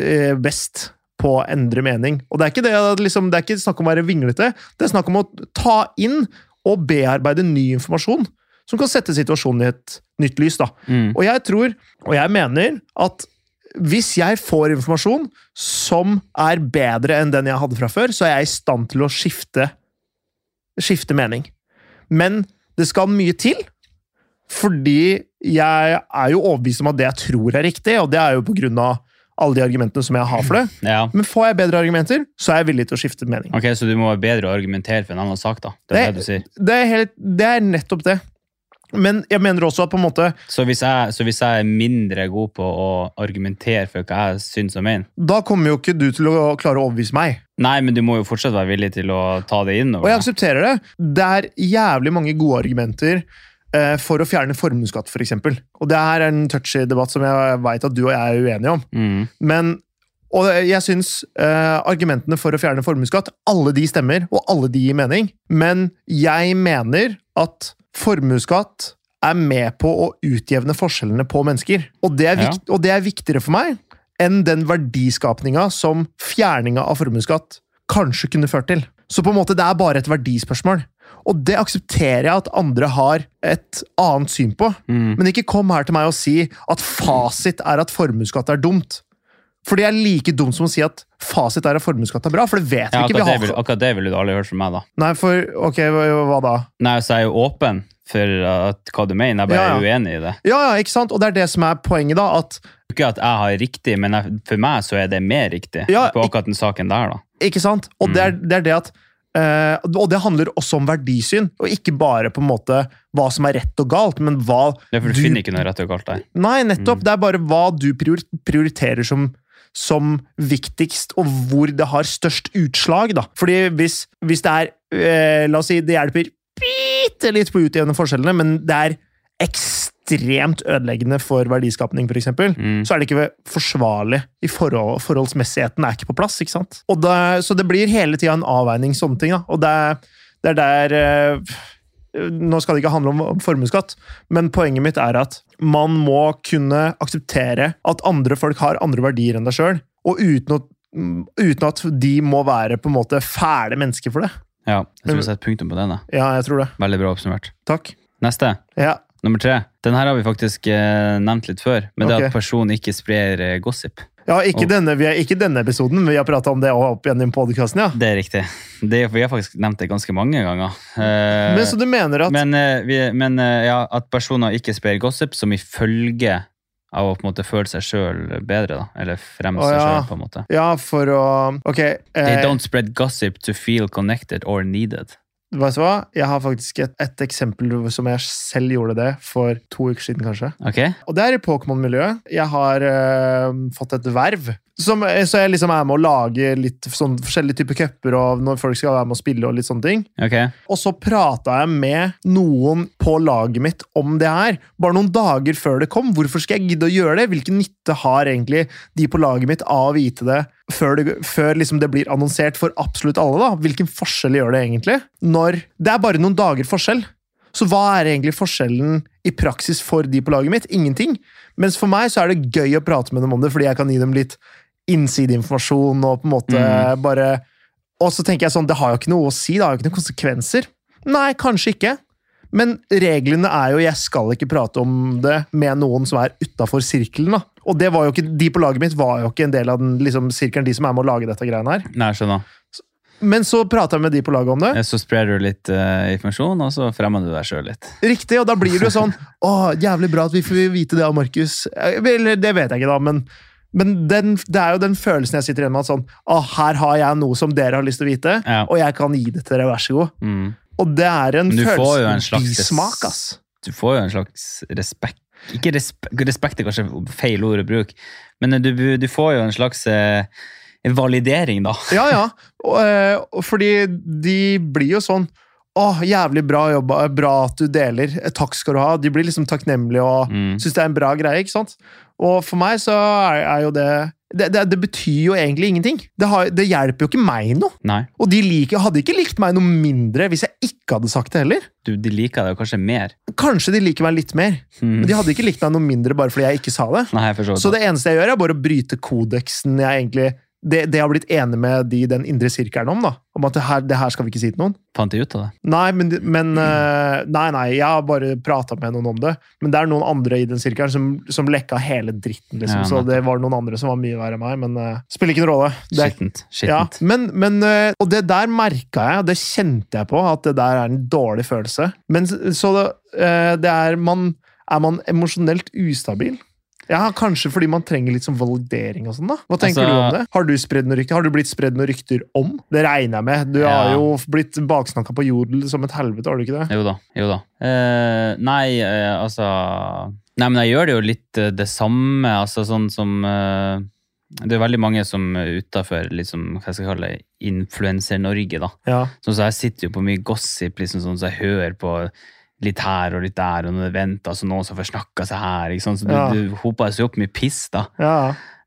[SPEAKER 1] eh, best på å endre mening. Og det er ikke, det, at liksom, det er ikke snakk om å være vinglete, det er snakk om å ta inn og bearbeide ny informasjon som kan sette situasjonen i et nytt lys. da.
[SPEAKER 2] Mm.
[SPEAKER 1] Og jeg tror, og jeg mener, at hvis jeg får informasjon som er bedre enn den jeg hadde fra før, så er jeg i stand til å skifte, skifte mening. Men det skal mye til, fordi jeg er jo overbevist om at det jeg tror er riktig, og det er jo på grunn av alle de argumentene som jeg har for det.
[SPEAKER 2] Ja.
[SPEAKER 1] Men får jeg bedre argumenter, så er jeg villig til å skifte mening.
[SPEAKER 2] Ok, Så du må være bedre å argumentere for en annen sak, da. Det er det du sier.
[SPEAKER 1] Det er, helt, det er nettopp det. Men jeg mener også at på en måte
[SPEAKER 2] Så hvis, jeg, så hvis jeg er mindre god på å argumentere for hva jeg syns og mener
[SPEAKER 1] Da kommer jo ikke du til å klare å overbevise meg.
[SPEAKER 2] Nei, men du må jo fortsatt være villig til å ta det
[SPEAKER 1] Og
[SPEAKER 2] innover.
[SPEAKER 1] jeg aksepterer det. Det er jævlig mange gode argumenter eh, for å fjerne formuesskatt, f.eks. Og det her er en touchy debatt som jeg veit at du og jeg er uenige om.
[SPEAKER 2] Mm.
[SPEAKER 1] Men, og jeg syns eh, argumentene for å fjerne formuesskatt, alle de stemmer, og alle de gir mening. Men jeg mener at formuesskatt er med på å utjevne forskjellene på mennesker. Og det er,
[SPEAKER 2] Ja.
[SPEAKER 1] vikt, og det er viktigere for meg enn den verdiskapninga som fjerninga av formuesskatt kanskje kunne ført til. Så på en måte det er bare et verdispørsmål. Og det aksepterer jeg at andre har et annet syn på.
[SPEAKER 2] Mm.
[SPEAKER 1] Men ikke kom her til meg og si at fasit er at formuesskatt er dumt. For det er like dumt som å si at fasit er at formuesskatt er bra, for det vet
[SPEAKER 2] Ja,
[SPEAKER 1] vi ikke.
[SPEAKER 2] akkurat,
[SPEAKER 1] Vi
[SPEAKER 2] det
[SPEAKER 1] har...
[SPEAKER 2] vil, akkurat det ville du aldri hørt fra meg, da.
[SPEAKER 1] Nei, for Ok, hva, hva da?
[SPEAKER 2] Nei, så jeg er jo åpen for at, hva du mener, jeg bare
[SPEAKER 1] Ja, ja.
[SPEAKER 2] er uenig i det.
[SPEAKER 1] Ja, ja, ikke sant? Og det er det som er poenget, da. At
[SPEAKER 2] Ikke at jeg har riktig, men jeg, for meg så er det mer riktig
[SPEAKER 1] Ja,
[SPEAKER 2] på akkurat den saken der, da.
[SPEAKER 1] Ikke sant? Og det,
[SPEAKER 2] Mm.
[SPEAKER 1] er, det er det at eh, Og det handler også om verdisyn, og ikke bare på en måte hva som er rett og galt, men hva
[SPEAKER 2] Det er for du,
[SPEAKER 1] Du-
[SPEAKER 2] finner ikke noe rett og galt der.
[SPEAKER 1] Nei, nettopp. Det er bare hva du prior- prioriterer som, som viktigst, og hvor det har størst utslag. Da. Fordi hvis, hvis det er eh, La oss si det hjelper bitte litt på å utjevne forskjellene, men det er ekstremt ødeleggende for verdiskapning, f.eks., eksempel,
[SPEAKER 2] Mm.
[SPEAKER 1] så er det ikke forsvarlig. i forhold, Forholdsmessigheten er ikke på plass. ikke sant? Og det, så det blir hele tida en avveining, sånne ting. da. Og det, er- det er der eh, Nå skal det ikke handle om formuesskatt, men poenget mitt er at man må kunne akseptere at andre folk har andre verdier enn deg sjøl, og uten, å, mm, uten at de må være på en måte fæle mennesker for det.
[SPEAKER 2] Ja, jeg tror vi setter punktum på den. da.
[SPEAKER 1] Ja, jeg tror det.
[SPEAKER 2] Veldig bra oppsummert.
[SPEAKER 1] Takk.
[SPEAKER 2] Neste,
[SPEAKER 1] Ja.
[SPEAKER 2] nummer tre. Den her har vi faktisk eh, nevnt litt før, men det er
[SPEAKER 1] Ok.
[SPEAKER 2] at personen ikke sprer eh, gossip.
[SPEAKER 1] Ja, ikke,
[SPEAKER 2] Og-
[SPEAKER 1] denne, vi er, ikke denne episoden, men vi har prata om det også opp igjen i podkasten, ja.
[SPEAKER 2] Det er riktig. Det, vi har faktisk nevnt det ganske mange ganger. Eh,
[SPEAKER 1] Men så du mener at
[SPEAKER 2] men, eh, vi, men eh, ja, at personer ikke sprer gossip som ifølge av å på en måte føle seg sjøl bedre, da. Eller fremme
[SPEAKER 1] Å,
[SPEAKER 2] seg
[SPEAKER 1] ja.
[SPEAKER 2] sjøl, på en måte.
[SPEAKER 1] Ja, for å Ok.
[SPEAKER 2] They
[SPEAKER 1] Eh,
[SPEAKER 2] don't spread gossip to feel connected or needed.
[SPEAKER 1] Vet du hva? Jeg har faktisk et, et eksempel som jeg selv gjorde det for to uker siden, kanskje.
[SPEAKER 2] Ok?
[SPEAKER 1] Og det er i Pokémon-miljøet. Jeg har eh, fått et verv. Som, så jeg liksom er med å lage litt sånn forskjellige typer cuper og når folk skal være med å spille. Og litt sånne ting.
[SPEAKER 2] ok.
[SPEAKER 1] Og så prata jeg med noen på laget mitt om det her. Bare noen dager før det kom. Hvorfor skal jeg gidde å gjøre det? Hvilken nytte har egentlig de på laget mitt av å vite det før, det, før liksom det blir annonsert for absolutt alle? da? Hvilken forskjell gjør det egentlig? Når Det er bare noen dager forskjell. Så hva er egentlig forskjellen i praksis for de på laget mitt? Ingenting. Mens for meg så er det gøy å prate med dem om det, fordi jeg kan gi dem litt innsideinformasjon og på en måte bare Og så tenker jeg sånn, det har jo ikke noe å si, det har jo ikke noen konsekvenser. Nei, kanskje ikke. Men reglene er jo 'jeg skal ikke prate om det med noen som er utafor sirkelen'. da. Og det var jo ikke, de på laget mitt var jo ikke en del av den liksom, sirkelen, de som er med å lage dette greiene her.
[SPEAKER 2] Nei, jeg skjønner.
[SPEAKER 1] Men så prata jeg med de på laget om det.
[SPEAKER 2] Så sprer du litt eh, informasjon, og så fremmer du deg sjøl litt.
[SPEAKER 1] Riktig, og da blir det jo sånn Å, jævlig bra at vi får vite det av Markus. Eh, Vel, det vet jeg ikke, da, men, men den, det er jo den følelsen jeg sitter igjen med. At sånn Å, her har jeg noe som dere har lyst til å vite,
[SPEAKER 2] Ja.
[SPEAKER 1] og jeg kan gi det til dere, vær så god.
[SPEAKER 2] Mm.
[SPEAKER 1] Og det er en
[SPEAKER 2] Men du får jo en
[SPEAKER 1] følelse
[SPEAKER 2] slags-
[SPEAKER 1] bismak, ass.
[SPEAKER 2] du får jo en slags respekt Ikke respekt, respekt er kanskje feil ord å bruke, men du, du får jo en slags eh, validering, da.
[SPEAKER 1] Ja, ja. Og, eh, og fordi de blir jo sånn Å, jævlig bra jobba, bra at du deler. Eh, Takk skal du ha. De blir liksom takknemlige og
[SPEAKER 2] Mm.
[SPEAKER 1] Syns det er en bra greie, ikke sant? Og for meg så er, er jo det det, det det betyr jo egentlig ingenting. Det, har, det hjelper jo ikke meg noe.
[SPEAKER 2] Nei,
[SPEAKER 1] Og de liker, hadde ikke likt meg noe mindre hvis jeg ikke hadde sagt det heller.
[SPEAKER 2] du, de liker deg jo kanskje mer.
[SPEAKER 1] Kanskje de liker meg litt mer,
[SPEAKER 2] Mm.
[SPEAKER 1] men de hadde ikke likt meg noe mindre bare fordi jeg ikke sa det.
[SPEAKER 2] Nei, jeg forstår
[SPEAKER 1] Så det eneste jeg gjør, er bare å bryte kodeksen jeg egentlig det, det jeg har blitt enig med de i den indre sirkelen om, da. Om at det her, det her skal vi ikke si til noen.
[SPEAKER 2] Fant jeg ut av det?
[SPEAKER 1] Nei, men, men
[SPEAKER 2] Mm.
[SPEAKER 1] eh, Nei, nei, jeg har bare prata med noen om det. Men det er noen andre i den sirkelen som, som lekka hele dritten, liksom.
[SPEAKER 2] Ja,
[SPEAKER 1] så
[SPEAKER 2] nettopp.
[SPEAKER 1] det var noen andre som var mye verre enn meg, men eh, spiller ikke noen rolle. Det er,
[SPEAKER 2] Skittent.
[SPEAKER 1] ja,
[SPEAKER 2] skittent.
[SPEAKER 1] men, men, eh, og det der merka jeg, og det kjente jeg på, at det der er en dårlig følelse. Men s- så det, eh, det er man Er man emosjonelt ustabil? Ja, Kanskje fordi man trenger litt sånn validering og sånn, da. Hva tenker
[SPEAKER 2] Altså-
[SPEAKER 1] du om det? Har du, spredd noen rykter? har du blitt spredd noen rykter om? Det regner jeg med. Du har
[SPEAKER 2] Ja.
[SPEAKER 1] jo blitt baksnakka på jodel som et helvete, har du ikke det?
[SPEAKER 2] Jo da. Jo da. Eh, nei, eh, altså Nei, men jeg gjør det jo litt eh, det samme, altså sånn som eh, Det er veldig mange som er utafor, liksom, hva skal jeg kalle det, Influenser-Norge, da.
[SPEAKER 1] Ja.
[SPEAKER 2] Sånn så jeg sitter jo på mye gossip, liksom sånn så jeg hører på litt her og litt der, og noen eventer, så noen som får snakka seg her, ikke sant? så du,
[SPEAKER 1] Ja.
[SPEAKER 2] du hoper seg opp mye piss da.
[SPEAKER 1] ja.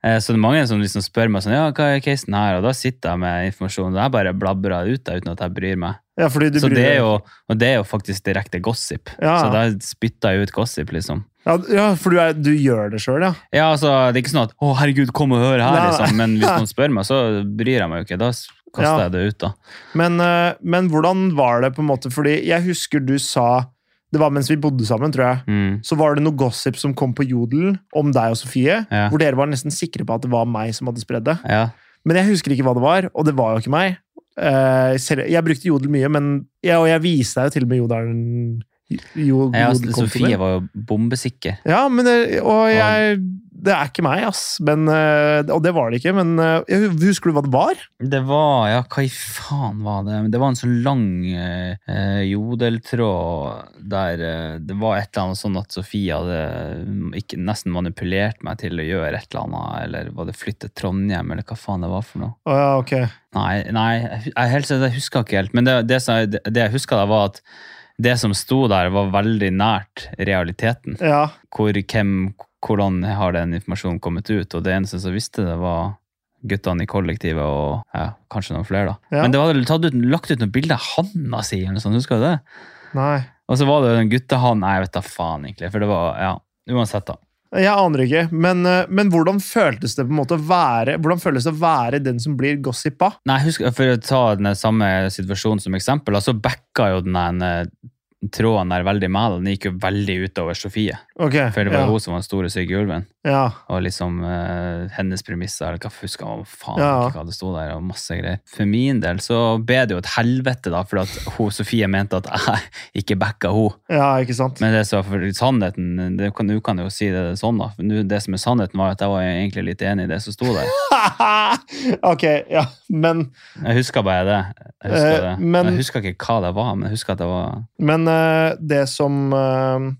[SPEAKER 2] Eh, så det er mange som liksom spør meg sånn, ja, hva er casen her? Og da sitter jeg med informasjon, og jeg bare blabrer ut der uten at jeg bryr meg.
[SPEAKER 1] ja, fordi du
[SPEAKER 2] Så
[SPEAKER 1] bryr
[SPEAKER 2] det er
[SPEAKER 1] deg-
[SPEAKER 2] jo, og det er jo faktisk direkte gossip.
[SPEAKER 1] Ja.
[SPEAKER 2] Så da spytter jeg ut gossip, liksom.
[SPEAKER 1] ja, ja, for du, er, du gjør det sjøl, ja.
[SPEAKER 2] Ja, altså, det er ikke sånn at, å herregud, kom og hør her,
[SPEAKER 1] Nei, nei.
[SPEAKER 2] liksom. Men hvis noen spør meg, så bryr jeg meg jo ikke. Da s- kaster
[SPEAKER 1] Ja.
[SPEAKER 2] jeg det ut da.
[SPEAKER 1] Men, eh, men hvordan var det på en måte? Fordi jeg husker du sa Det var mens vi bodde sammen, tror jeg.
[SPEAKER 2] Mm.
[SPEAKER 1] Så var det noe gossip som kom på Jodel om deg og Sofie.
[SPEAKER 2] Ja.
[SPEAKER 1] Hvor dere var nesten sikre på at det var meg som hadde spredd det.
[SPEAKER 2] Ja.
[SPEAKER 1] Men jeg husker ikke hva det var, og det var jo ikke meg. Eh, selv, jeg brukte Jodel mye, men ja, og jeg viste deg jo til og med Jodelen jo,
[SPEAKER 2] Ja, altså,
[SPEAKER 1] Jodel-kontoen
[SPEAKER 2] Sofie
[SPEAKER 1] min.
[SPEAKER 2] var jo bombesikker.
[SPEAKER 1] Ja, men det, og jeg Det er ikke meg, ass. Men, eh, og det var det ikke, men eh, jeg husker du hva det var?
[SPEAKER 2] Det var Ja, hva i faen var det? Det var en sånn lang eh, eh, jodeltråd der eh, det var et eller annet sånn at Sofie hadde mm, ikke, nesten manipulert meg til å gjøre et eller annet, eller var det flytte Trondheim, eller hva faen det var for noe?
[SPEAKER 1] Å ja, ok.
[SPEAKER 2] Nei, nei jeg, jeg, helt, seriøst, jeg husker ikke helt. Men det, det, som jeg- det det jeg husker da, var at det som sto der, var veldig nært realiteten.
[SPEAKER 1] Ja.
[SPEAKER 2] Hvor, hvem, hvordan har den informasjonen kommet ut? Og det eneste som visste det, var guttene i kollektivet og ja, kanskje noen flere. da.
[SPEAKER 1] Ja.
[SPEAKER 2] Men det var tatt ut, lagt ut noen bilder av handa si, eller noe sånt, husker du det?
[SPEAKER 1] Nei.
[SPEAKER 2] Og så var det den guttehanen Nei, jeg vet da faen, egentlig. For det var Ja, uansett, da.
[SPEAKER 1] Jeg aner ikke, men, eh, men hvordan føltes det på en måte å være Hvordan føles det å være den som blir gossipa?
[SPEAKER 2] Nei, husk, For å ta den samme situasjonen som eksempel, da, så backa jo den her, eh, tråden der veldig meg. da. Den gikk jo veldig utover Sofie,
[SPEAKER 1] Ok,
[SPEAKER 2] for det var
[SPEAKER 1] ja.
[SPEAKER 2] hun som var den store syke ulven.
[SPEAKER 1] Ja.
[SPEAKER 2] Og liksom eh, hennes premisser, eller hva husker jeg faen
[SPEAKER 1] Ja.
[SPEAKER 2] ikke hva det sto der, og masse greier. For min del så ble det jo et helvete, da, for at hun, Sofie mente at jeg ikke backa henne.
[SPEAKER 1] ja, ikke sant?
[SPEAKER 2] Men det som var for sannheten, det kan, du kan jo si det sånn, da. For nå- det som er sannheten, var at jeg var egentlig litt enig i det som sto der.
[SPEAKER 1] ok, ja, men,
[SPEAKER 2] Jeg husker bare det. Jeg husker,
[SPEAKER 1] Eh,
[SPEAKER 2] det.
[SPEAKER 1] men-
[SPEAKER 2] jeg husker ikke hva det var, men jeg husker at det var
[SPEAKER 1] men eh, det som eh,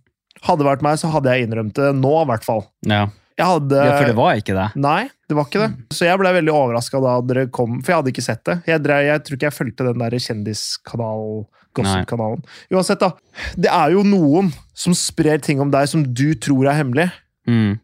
[SPEAKER 1] Hadde vært meg, så hadde jeg innrømt det nå, i hvert fall.
[SPEAKER 2] Ja,
[SPEAKER 1] Jeg hadde
[SPEAKER 2] ja for det var Mm. ikke det.
[SPEAKER 1] Nei, det var ikke det. Så jeg ble veldig overraska da dere kom, for jeg hadde ikke sett det. Jeg, drev, jeg tror ikke jeg fulgte den der kjendiskanal gossip-kanalen. Uansett, da. Det er jo noen som sprer ting om deg som du tror er hemmelig.
[SPEAKER 2] Mm.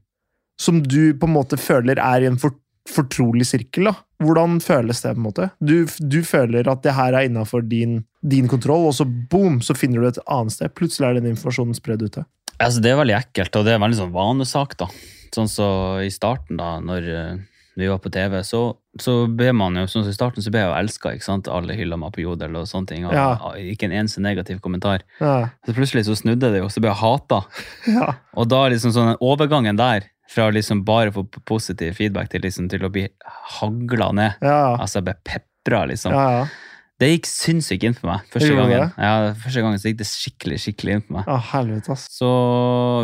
[SPEAKER 1] Som du på en måte føler er i en for, fortrolig sirkel. da. Hvordan føles det? på en måte? Du, du føler at det her er innafor din, din kontroll, og så boom, så finner du et annet sted. Plutselig er den informasjonen spredd ute.
[SPEAKER 2] Altså, det er veldig ekkelt, og det er veldig sånn vanesak, da. Sånn så i starten, da, når eh, vi var på TV, så, så ble man jo, sånn som i starten, så ble jeg jo elska, ikke sant. Alle hylla meg på Jodel og sånne ting. Og,
[SPEAKER 1] Ja.
[SPEAKER 2] Ikke en eneste negativ kommentar.
[SPEAKER 1] Ja,
[SPEAKER 2] Så plutselig så snudde det jo, så ble jeg hata.
[SPEAKER 1] ja,
[SPEAKER 2] Og da liksom sånn den overgangen der, fra liksom bare å få p- positiv feedback til liksom til å bli hagla ned,
[SPEAKER 1] ja.
[SPEAKER 2] altså jeg ble pepra, liksom.
[SPEAKER 1] ja, ja.
[SPEAKER 2] Det gikk sinnssykt inn for meg. Første
[SPEAKER 1] Gjorde
[SPEAKER 2] gangen.
[SPEAKER 1] det?
[SPEAKER 2] Ja, første gangen så gikk det skikkelig, skikkelig inn for meg
[SPEAKER 1] ja helvete, ass.
[SPEAKER 2] så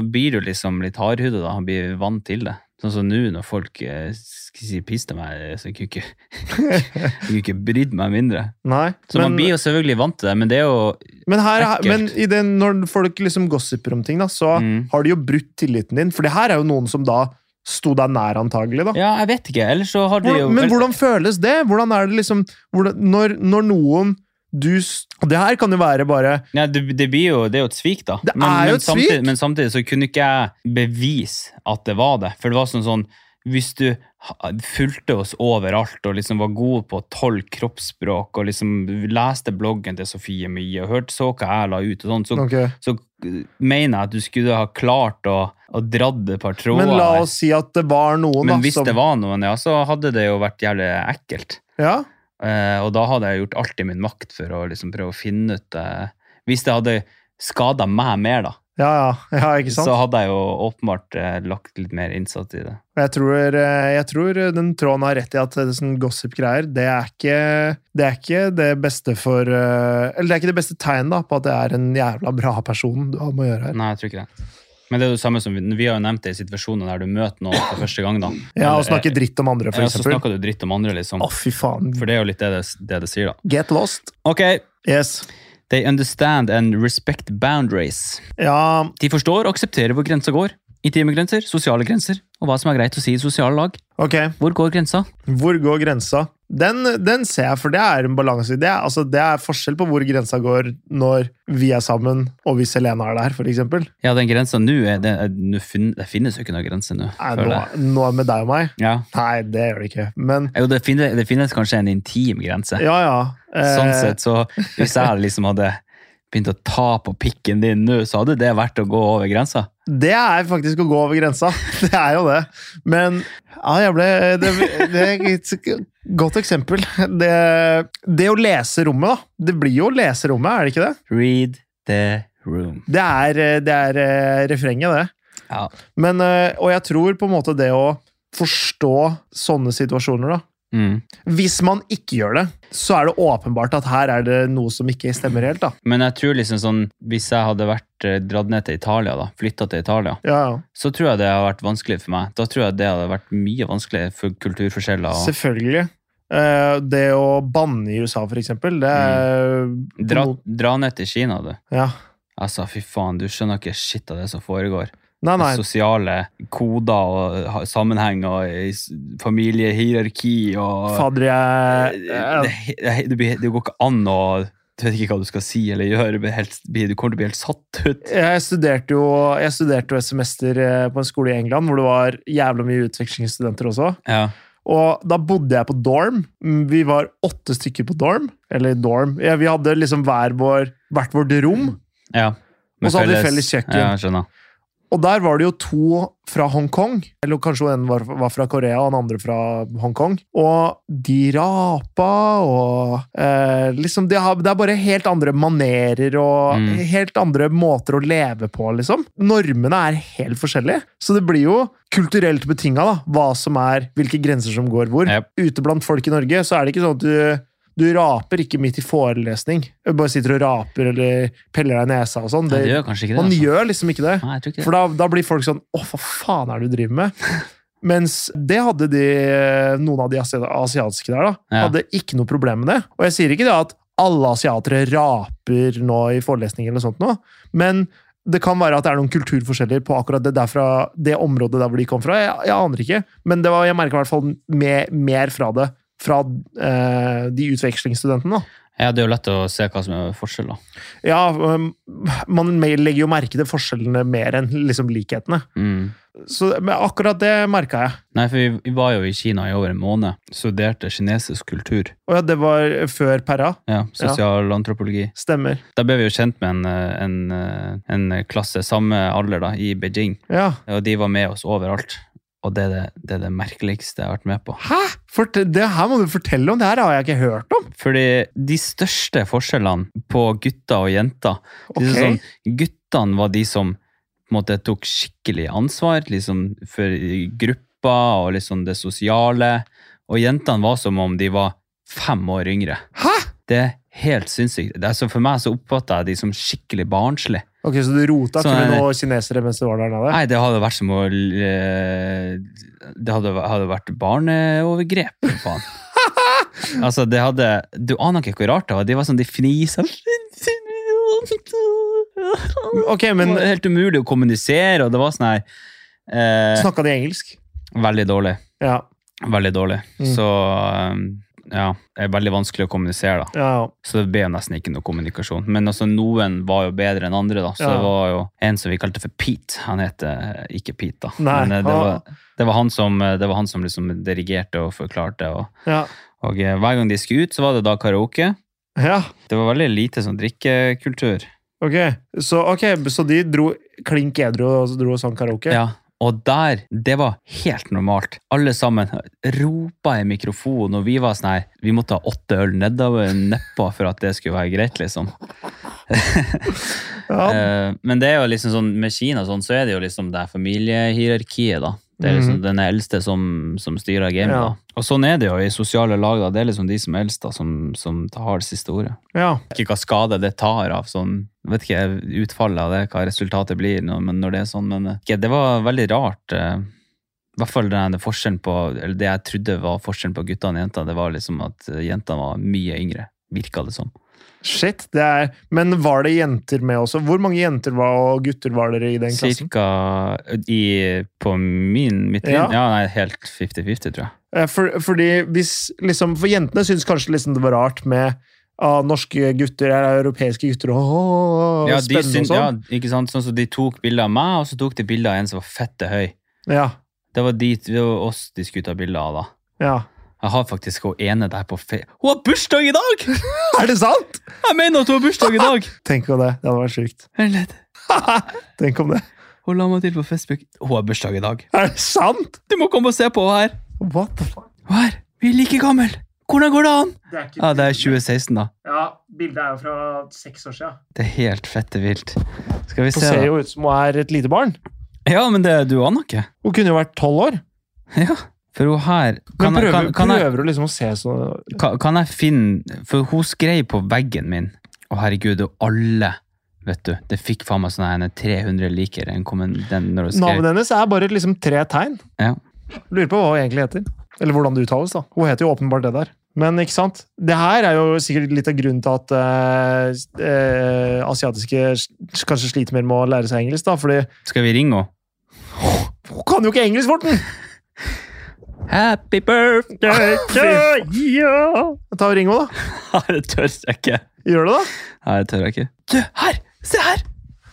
[SPEAKER 2] blir du liksom litt hardhudet da, han blir vant til det. Sånn som nå når folk eh, skal si piss til meg, så kunne jeg ikke, jeg kunne ikke brydd meg mindre.
[SPEAKER 1] Nei.
[SPEAKER 2] Så man blir jo selvfølgelig vant til det, men det er jo
[SPEAKER 1] Men, her, er-
[SPEAKER 2] Ekkelt.
[SPEAKER 1] men i den, når folk liksom gossiper om ting, da, så
[SPEAKER 2] Mm.
[SPEAKER 1] har de jo brutt tilliten din. For det her er jo noen som da sto deg nær, antagelig. da.
[SPEAKER 2] Ja, jeg vet ikke. Ellers så har de jo
[SPEAKER 1] Hvordan, men hvordan føles det? Hvordan er det liksom hvordan, når, når noen du s- og Det her kan jo være bare
[SPEAKER 2] Nei, det, det blir jo Det er jo et svik, da.
[SPEAKER 1] Det er jo et
[SPEAKER 2] samtidig,
[SPEAKER 1] svik!
[SPEAKER 2] Men samtidig så kunne ikke jeg bevise at det var det. For det var sånn sånn Hvis du ha- fulgte oss overalt og liksom var god på tolv kroppsspråk og liksom leste bloggen til Sofie Mie og hørte så hva jeg la ut og sånn, så
[SPEAKER 1] Ok.
[SPEAKER 2] så mener jeg at du skulle ha klart å, å dratt et par tråder.
[SPEAKER 1] Men la oss si at det var noen
[SPEAKER 2] Men
[SPEAKER 1] da,
[SPEAKER 2] hvis
[SPEAKER 1] som
[SPEAKER 2] det var noen, ja, så hadde det jo vært jævlig ekkelt.
[SPEAKER 1] ja?
[SPEAKER 2] Eh, og da hadde jeg gjort alt i min makt for å liksom prøve å finne ut eh, Hvis det hadde skada meg mer, da,
[SPEAKER 1] Ja, ja, ja, ikke sant?
[SPEAKER 2] så hadde jeg jo åpenbart eh, lagt litt mer innsats i det.
[SPEAKER 1] Jeg tror, eh, jeg tror den tråden har rett i at det er sånn gossip-greier, det, er ikke- det er ikke det beste for eh, Eller det er ikke det beste tegnet da, på at det er en jævla bra person du har med å gjøre her.
[SPEAKER 2] Nei, jeg tror ikke det. Men det er jo det samme som vi, vi har jo nevnt det i situasjoner der du møter noen for første gang. da.
[SPEAKER 1] Ja, og
[SPEAKER 2] Eller,
[SPEAKER 1] snakke dritt om andre,
[SPEAKER 2] eh,
[SPEAKER 1] for
[SPEAKER 2] ja, så
[SPEAKER 1] eksempel.
[SPEAKER 2] snakker du dritt om andre,
[SPEAKER 1] Å,
[SPEAKER 2] liksom.
[SPEAKER 1] fy faen.
[SPEAKER 2] For det er jo litt det det, det, det sier, da.
[SPEAKER 1] Get lost.
[SPEAKER 2] Ok,
[SPEAKER 1] Yes.
[SPEAKER 2] they understand and respect boundaries.
[SPEAKER 1] Ja,
[SPEAKER 2] De forstår og aksepterer hvor grensa går. Intime grenser, sosiale grenser og hva som er greit å si i sosiale lag.
[SPEAKER 1] ok.
[SPEAKER 2] Hvor går grensa?
[SPEAKER 1] Hvor går grensa? Den, den ser jeg, for det er en balanse i det. er- Altså, det er forskjell på hvor grensa går når vi er sammen, og hvis Helena er der, for eksempel.
[SPEAKER 2] Ja, den grensa nå er det, er- nå fin, det finnes jo ikke noen grense nå.
[SPEAKER 1] Nei,
[SPEAKER 2] føler
[SPEAKER 1] nå,
[SPEAKER 2] jeg.
[SPEAKER 1] nå er det med deg og meg.
[SPEAKER 2] Ja.
[SPEAKER 1] Nei, det gjør det ikke. Men
[SPEAKER 2] Jo, det finnes, det finnes kanskje en intim grense.
[SPEAKER 1] ja, eh. ja.
[SPEAKER 2] Sånn sett, så hvis jeg liksom hadde begynt å ta på pikken din nå, så hadde det vært å gå over grensa.
[SPEAKER 1] Det er faktisk å gå over grensa. Det er jo det. Men ja, jeg ble Det, det er et godt eksempel. Det, det å lese rommet, da. Det blir jo å lese rommet, er det ikke det?
[SPEAKER 2] Read the room.
[SPEAKER 1] Det er, eh, det er eh, refrenget, det.
[SPEAKER 2] Ja.
[SPEAKER 1] Men, eh, og jeg tror på en måte det å forstå sånne situasjoner, da.
[SPEAKER 2] Mm.
[SPEAKER 1] Hvis man ikke gjør det, så er det åpenbart at her er det noe som ikke stemmer helt, da.
[SPEAKER 2] Men jeg tror liksom sånn, hvis jeg hadde vært eh, dratt ned til Italia, da, flytta til Italia,
[SPEAKER 1] Ja,
[SPEAKER 2] så tror jeg det har vært vanskelig for meg. Da tror jeg det hadde vært mye vanskeligere for kulturforskjeller.
[SPEAKER 1] ja.
[SPEAKER 2] Og
[SPEAKER 1] Selvfølgelig. Eh, Det å banne i USA, for eksempel, det er
[SPEAKER 2] Mm. dra, dra ned til Kina, du.
[SPEAKER 1] Ja.
[SPEAKER 2] Altså, fy faen, du skjønner ikke shit av det som foregår.
[SPEAKER 1] Nei, nei.
[SPEAKER 2] Sosiale koder og ha- sammenheng og i s- familiehierarki og Eh,
[SPEAKER 1] Fader, jeg
[SPEAKER 2] det, det, det, blir- det går ikke an å Du vet ikke hva du skal si eller gjøre. Du, blir helt, du kommer til å bli helt satt ut.
[SPEAKER 1] jeg studerte, jo, jeg studerte jo et semester eh, på en skole i England hvor det var jævla mye utvekslingsstudenter også.
[SPEAKER 2] Ja.
[SPEAKER 1] Og da bodde jeg på dorm. Mm, Vi var åtte stykker på dorm. Eller dorm. Ja, vi hadde liksom hver vår, hvert vårt rom.
[SPEAKER 2] ja.
[SPEAKER 1] Og så hadde vi felles kjøkken.
[SPEAKER 2] Ja, jeg skjønner.
[SPEAKER 1] Og der var det jo to fra Hongkong, eller kanskje en var, var fra Korea og den andre fra Hongkong. Og de rapa og eh, liksom de har, Det er bare helt andre manerer og
[SPEAKER 2] Mm.
[SPEAKER 1] helt andre måter å leve på, liksom. Normene er helt forskjellige, så det blir jo kulturelt betinga, da, hva som er Hvilke grenser som går hvor.
[SPEAKER 2] Yep.
[SPEAKER 1] Ute blant folk i Norge så er det ikke sånn at du du raper ikke midt i forelesning. Du bare sitter og raper eller peller deg i nesa og sånn.
[SPEAKER 2] Nei, det
[SPEAKER 1] Det-
[SPEAKER 2] gjør kanskje ikke det.
[SPEAKER 1] Man
[SPEAKER 2] altså.
[SPEAKER 1] gjør liksom ikke det.
[SPEAKER 2] Nei, jeg tror ikke det.
[SPEAKER 1] For da, da blir folk sånn Å, hva faen er det du driver med? Mens det hadde de, noen av de asi- asiatiske der, da.
[SPEAKER 2] Ja.
[SPEAKER 1] Hadde ikke noe problem med det. Og jeg sier ikke det at alle asiatere raper nå i forelesninger eller noe sånt nå, men det kan være at det er noen kulturforskjeller på akkurat det der fra det området der hvor de kom fra. Jeg, jeg aner ikke, men det var, jeg merka i hvert fall mer, mer fra det fra eh, de utvekslingsstudentene. da.
[SPEAKER 2] Ja, det er jo lett å se hva som er forskjell, da.
[SPEAKER 1] Ja, um, man legger jo merke til forskjellene mer enn liksom likhetene.
[SPEAKER 2] Mm.
[SPEAKER 1] Så, men akkurat det merka jeg.
[SPEAKER 2] Nei, for vi, vi var jo i Kina i over en måned. Studerte kinesisk kultur.
[SPEAKER 1] Og ja, det var før Perra.
[SPEAKER 2] Ja, Sosialantropologi.
[SPEAKER 1] Stemmer.
[SPEAKER 2] Da ble vi jo kjent med en, eh, en, eh, en klasse, samme alder, da, i Beijing.
[SPEAKER 1] Ja.
[SPEAKER 2] Og de var med oss overalt. Og det er det, det, er det merkeligste jeg har vært med på.
[SPEAKER 1] Hæ?! Fort det her må du fortelle om! Det her har jeg ikke hørt om!
[SPEAKER 2] Fordi de største forskjellene på gutter og jenter
[SPEAKER 1] Ok.
[SPEAKER 2] det er sånn, Guttene var de som på en måte, tok skikkelig ansvar liksom, for gruppa og liksom, det sosiale. Og jentene var som om de var fem år yngre.
[SPEAKER 1] Hæ?!
[SPEAKER 2] Det er helt sinnssykt. Det er, så for meg så oppfatter jeg de som skikkelig barnslige.
[SPEAKER 1] Ok, Så du rota ikke
[SPEAKER 2] Sånn er
[SPEAKER 1] med
[SPEAKER 2] det.
[SPEAKER 1] noen kinesere mens du var der nede?
[SPEAKER 2] Nei, det hadde vært som å eh, Det hadde, hadde vært barneovergrep, for faen. altså, det hadde Du aner ikke hvor rart det var. De var sånn, de fnisa Det
[SPEAKER 1] Ok, men
[SPEAKER 2] var helt umulig å kommunisere, og det var sånn her eh,
[SPEAKER 1] Snakka de engelsk?
[SPEAKER 2] Veldig dårlig.
[SPEAKER 1] Ja.
[SPEAKER 2] Veldig dårlig.
[SPEAKER 1] Mm.
[SPEAKER 2] Så um, ja, det er veldig vanskelig å kommunisere, da.
[SPEAKER 1] ja, ja.
[SPEAKER 2] Så det ble jo nesten ikke noe kommunikasjon. Men altså, noen var jo bedre enn andre, da. Så
[SPEAKER 1] Ja.
[SPEAKER 2] det var jo en som vi kalte for Pete. Han heter ikke Pete, da.
[SPEAKER 1] Nei,
[SPEAKER 2] Men eh, det
[SPEAKER 1] han-
[SPEAKER 2] var, det var han som, eh, det var han som liksom dirigerte og forklarte. Og,
[SPEAKER 1] ja.
[SPEAKER 2] og eh, hver gang de skulle ut, så var det da karaoke.
[SPEAKER 1] ja.
[SPEAKER 2] Det var veldig lite sånn drikkekultur.
[SPEAKER 1] Ok, så, ok, så de dro klink edru og så dro og sang karaoke?
[SPEAKER 2] Ja. Og der, det var helt normalt. Alle sammen ropa i mikrofonen, og vi var sånn her Vi måtte ha åtte øl nedover nedpå for at det skulle være greit, liksom.
[SPEAKER 1] Ja.
[SPEAKER 2] Eh, men det er jo liksom sånn, med Kina sånn, så er det jo liksom det familiehierarkiet, da. Det er liksom den eldste som, som styrer gamet.
[SPEAKER 1] Ja.
[SPEAKER 2] da. Og sånn er det jo i sosiale lag. da. Det er liksom de som er eldst da, som, som har det siste ordet.
[SPEAKER 1] ja.
[SPEAKER 2] Ikke hva skade det tar av sånn Vet ikke utfallet av det, hva resultatet blir når, men når det er sånn, men eh, ikke, det var veldig rart. eh, I hvert fall den forskjellen på Eller det jeg trodde var forskjellen på guttene og jentene, det var liksom at eh, jentene var mye yngre, virka det som.
[SPEAKER 1] Shit. Det er, men var det jenter med også? Hvor mange jenter var, og gutter var dere i den klassen?
[SPEAKER 2] Cirka i, på min, mitt
[SPEAKER 1] Ja.
[SPEAKER 2] ja. ja, nei, helt 50-50, tror jeg.
[SPEAKER 1] Eh, For, fordi hvis, liksom, for jentene syns kanskje liksom det var rart med ah, norske gutter eller europeiske gutter og oh,
[SPEAKER 2] Ja, de
[SPEAKER 1] spennende
[SPEAKER 2] syns-
[SPEAKER 1] og sånn.
[SPEAKER 2] ja, ikke sant? Sånn som de tok bilder av meg, og så tok de bilder av en som var fette høy.
[SPEAKER 1] Ja.
[SPEAKER 2] Det var, de, det var oss de skulle ta bilder av, da.
[SPEAKER 1] ja.
[SPEAKER 2] Jeg har faktisk hun ene der på fe... Hun har bursdag i dag!
[SPEAKER 1] Er det sant?!
[SPEAKER 2] Jeg mener at hun har bursdag i dag!
[SPEAKER 1] Tenk om det. Det hadde vært sjukt.
[SPEAKER 2] Vent litt.
[SPEAKER 1] Tenk om det.
[SPEAKER 2] Hun la meg til på Facebook. Hun har bursdag i dag.
[SPEAKER 1] Er det sant?!
[SPEAKER 2] Du må komme og se på henne her.
[SPEAKER 1] What the fuck?
[SPEAKER 2] Hun her. Vi er like gammel. Hvordan går det an?
[SPEAKER 1] Det er ikke
[SPEAKER 2] Ja, det er 2016, da.
[SPEAKER 1] Ja, bildet er jo fra seks år siden.
[SPEAKER 2] Det er helt fette vilt. Skal vi
[SPEAKER 1] Hun
[SPEAKER 2] se,
[SPEAKER 1] ser
[SPEAKER 2] da.
[SPEAKER 1] jo ut som hun er et lite barn.
[SPEAKER 2] Ja, men det du aner ikke.
[SPEAKER 1] Hun kunne jo vært tolv år.
[SPEAKER 2] Ja, for hun her
[SPEAKER 1] Men
[SPEAKER 2] kan, jeg-
[SPEAKER 1] prøver,
[SPEAKER 2] kan, kan, jeg,
[SPEAKER 1] prøver hun liksom å se sånn
[SPEAKER 2] kan, kan jeg finne For hun skrev på veggen min Å herregud, og alle Vet du, det fikk faen meg sånn her 300 likere enn kom en- den når hun skrev
[SPEAKER 1] Navnet hennes er bare liksom tre tegn.
[SPEAKER 2] Ja.
[SPEAKER 1] Lurer på hva hun egentlig heter. Eller hvordan det uttales, da. Hun heter jo åpenbart det der. Men ikke sant? Det her er jo sikkert litt av grunnen til at eh, s- eh, asiatiske s- kanskje sliter mer med å lære seg engelsk, da. Fordi
[SPEAKER 2] Skal vi ringe henne?
[SPEAKER 1] hun kan jo ikke engelsk, Morten!
[SPEAKER 2] Happy birthday!
[SPEAKER 1] Ja. Ta og Ring henne, da.
[SPEAKER 2] det tør jeg ikke.
[SPEAKER 1] Gjør det, da.
[SPEAKER 2] Nei, det tør jeg ikke. Du, her! Se her!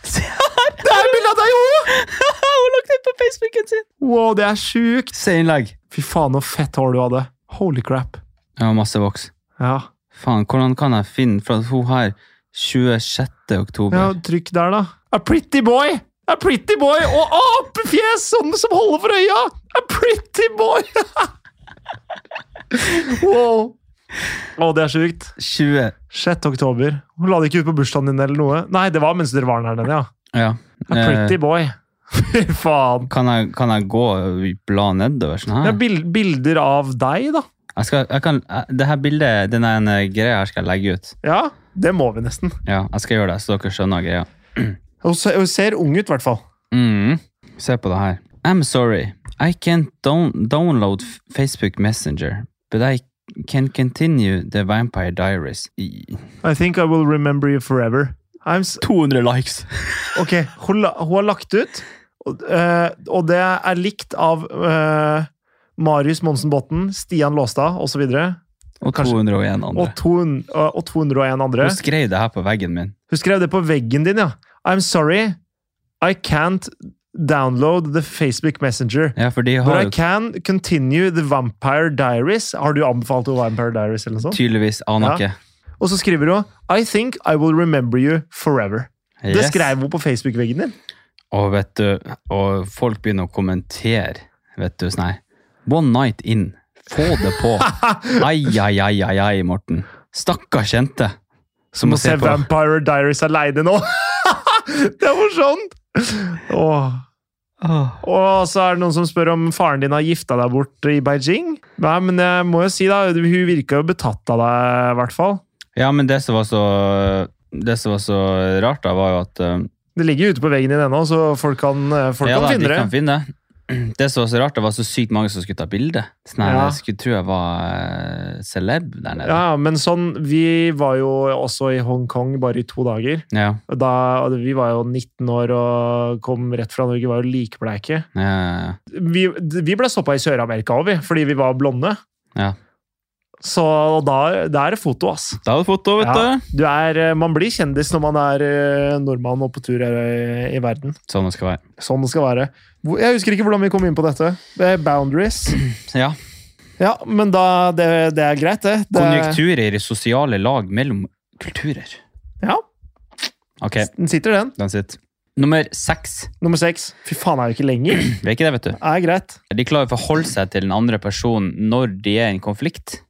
[SPEAKER 2] Se her!
[SPEAKER 1] Det er bilde av deg òg!
[SPEAKER 2] Hun lagt ut på Facebooken sin!
[SPEAKER 1] Wow, det er sjukt!
[SPEAKER 2] Se innlegg.
[SPEAKER 1] Fy faen, så fett hår du hadde. Holy crap.
[SPEAKER 2] Ja, masse voks.
[SPEAKER 1] Ja,
[SPEAKER 2] Faen, hvordan kan jeg finne For at hun her 26.
[SPEAKER 1] ja
[SPEAKER 2] oktober.
[SPEAKER 1] trykk der, da. A pretty boy! A pretty boy og apefjes sånn som holder for øya! A pretty boy! wow. Å, det er sjukt.
[SPEAKER 2] 20.
[SPEAKER 1] 6. oktober. Hun la det ikke ut på bursdagen din eller noe. Nei, det var mens dere var der nede, ja.
[SPEAKER 2] Ja.
[SPEAKER 1] A pretty boy. Fy faen.
[SPEAKER 2] Eh, kan, jeg, kan jeg gå og bla nedover sånn
[SPEAKER 1] Det
[SPEAKER 2] her?
[SPEAKER 1] er bil- bilder av deg, da.
[SPEAKER 2] Jeg skal, jeg kan, jeg- det her bildet, denne ene eh, greia her skal jeg legge ut.
[SPEAKER 1] Ja, det må vi nesten.
[SPEAKER 2] Ja, jeg skal gjøre det, så dere skjønner greia.
[SPEAKER 1] Hun se- hun ser ung ut, i hvert fall.
[SPEAKER 2] Mm. Se på det her. I'm sorry. I can't down download f- Facebook Messenger, but I can continue The Vampire Diaries. I-
[SPEAKER 1] I think I will remember you forever. I'm s
[SPEAKER 2] 200 likes!
[SPEAKER 1] ok, hun, la hun har lagt ut, og, eh, og det er likt av eh, Marius Monsen Botten, Stian Låstad osv. Og,
[SPEAKER 2] Og
[SPEAKER 1] Kanskje-
[SPEAKER 2] 201 andre.
[SPEAKER 1] to hun- eh, og 201 andre.
[SPEAKER 2] Hun skrev det her på veggen min.
[SPEAKER 1] Hun skrev det på veggen din, ja. I'm sorry, I can't download the Facebook Messenger.
[SPEAKER 2] Ja, for de
[SPEAKER 1] But
[SPEAKER 2] har
[SPEAKER 1] I
[SPEAKER 2] jo
[SPEAKER 1] can continue The Vampire Diaries. Har du anbefalt henne Vampire Diaries? eller noe sånt?
[SPEAKER 2] tydeligvis aner
[SPEAKER 1] Ja.
[SPEAKER 2] ikke.
[SPEAKER 1] Og så skriver hun I think I will remember you forever. Det
[SPEAKER 2] Yes.
[SPEAKER 1] skrev hun på Facebook-veggen din.
[SPEAKER 2] Og vet du, og folk begynner å kommentere, vet du, sånn her. One night in. Få det på. Ai, ai, ai, ai, ai, Morten. Stakkars jente. Som
[SPEAKER 1] Må
[SPEAKER 2] må se
[SPEAKER 1] se
[SPEAKER 2] på.
[SPEAKER 1] Vampire Diaries aleine nå! det er morsomt! Åh.
[SPEAKER 2] Åh.
[SPEAKER 1] Og så er det noen som spør om faren din har gifta deg bort i Beijing. Nei, men jeg må jo si da, hun virka jo betatt av deg, i hvert fall.
[SPEAKER 2] Ja, men det som var så, det som var så rart da, var jo at eh,
[SPEAKER 1] Det ligger jo ute på veggen din ennå, så folk kan, eh, folk
[SPEAKER 2] ja,
[SPEAKER 1] kan
[SPEAKER 2] da, de
[SPEAKER 1] finne det.
[SPEAKER 2] kan finne det. Det som var så rart, det var så sykt mange som skulle ta bilde. Sånn her,
[SPEAKER 1] Ja.
[SPEAKER 2] Jeg skulle tro jeg var eh, celeb der nede.
[SPEAKER 1] Ja, men sånn, vi var jo også i Hongkong bare i to dager.
[SPEAKER 2] Ja,
[SPEAKER 1] Og Da, og vi var jo 19 år og kom rett fra Norge, var jo likbleike.
[SPEAKER 2] ja, ja.
[SPEAKER 1] Vi, vi ble stoppa i Sør-Amerika òg, fordi vi var blonde.
[SPEAKER 2] Ja.
[SPEAKER 1] Så da, da er det foto, ass.
[SPEAKER 2] Da er det foto, vet
[SPEAKER 1] Ja.
[SPEAKER 2] du.
[SPEAKER 1] Du er, eh, man blir kjendis når man er eh, nordmann og på tur eh, i, i verden.
[SPEAKER 2] Sånn det skal være.
[SPEAKER 1] Sånn det skal være. Hvor- Jeg husker ikke hvordan vi kom inn på dette. Det er Boundaries.
[SPEAKER 2] Ja.
[SPEAKER 1] Ja, men da, det, det er greit, det. det
[SPEAKER 2] Konjunkturer i sosiale lag mellom kulturer.
[SPEAKER 1] Ja,
[SPEAKER 2] Ok,
[SPEAKER 1] den sitter, den.
[SPEAKER 2] den sitter. Nummer seks.
[SPEAKER 1] Nummer seks. Fy faen, er jo ikke lenger.
[SPEAKER 2] Det er ikke det, vet du.
[SPEAKER 1] Det er greit.
[SPEAKER 2] De klarer å forholde seg til den andre personen når de er i en konflikt.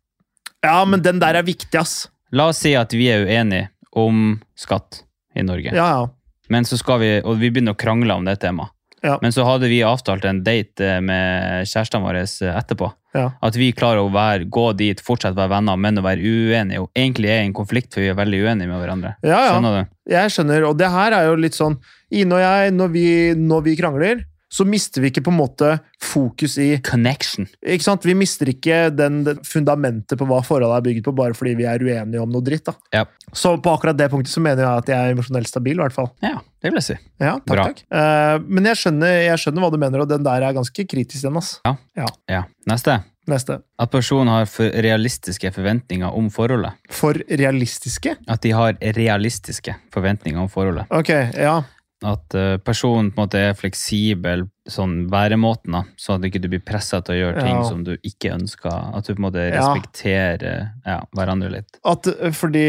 [SPEAKER 1] Ja, men den der er viktig, ass.
[SPEAKER 2] La oss si at vi er uenige om skatt i Norge.
[SPEAKER 1] Ja, ja.
[SPEAKER 2] Men så skal vi, og vi begynner å krangle om det temaet.
[SPEAKER 1] Ja.
[SPEAKER 2] Men så hadde vi avtalt en date eh, med kjærestene våre eh, etterpå.
[SPEAKER 1] Ja.
[SPEAKER 2] At vi klarer å være, gå dit, fortsette å være venner, men å være uenige. Og egentlig er i en konflikt, for vi er veldig uenige med hverandre.
[SPEAKER 1] ja, ja.
[SPEAKER 2] Skjønner du?
[SPEAKER 1] Jeg skjønner, og det her er jo litt sånn Ine og jeg, når vi, når vi krangler, så mister vi ikke på en måte fokus i
[SPEAKER 2] Connection.
[SPEAKER 1] ikke sant? Vi mister ikke den, det fundamentet på hva forholdet er bygget på, bare fordi vi er uenige om noe dritt. da.
[SPEAKER 2] Ja.
[SPEAKER 1] Så på akkurat det punktet så mener jeg at jeg er emosjonelt stabil. I hvert fall.
[SPEAKER 2] Ja, det vil jeg si.
[SPEAKER 1] Ja, takk,
[SPEAKER 2] Bra.
[SPEAKER 1] takk. Eh, men jeg skjønner, jeg skjønner hva du mener, og den der er ganske kritisk, den. ass.
[SPEAKER 2] Ja. Neste.
[SPEAKER 1] Neste.
[SPEAKER 2] At personen har for realistiske forventninger om forholdet.
[SPEAKER 1] For realistiske?
[SPEAKER 2] At de har realistiske forventninger om forholdet.
[SPEAKER 1] Ok, ja.
[SPEAKER 2] At eh, personen på en måte er fleksibel sånn væremåten, da, sånn at ikke du blir pressa til å gjøre ting
[SPEAKER 1] Ja.
[SPEAKER 2] som du ikke ønsker. At du på en måte
[SPEAKER 1] Ja.
[SPEAKER 2] respekterer ja, hverandre litt.
[SPEAKER 1] At, eh, fordi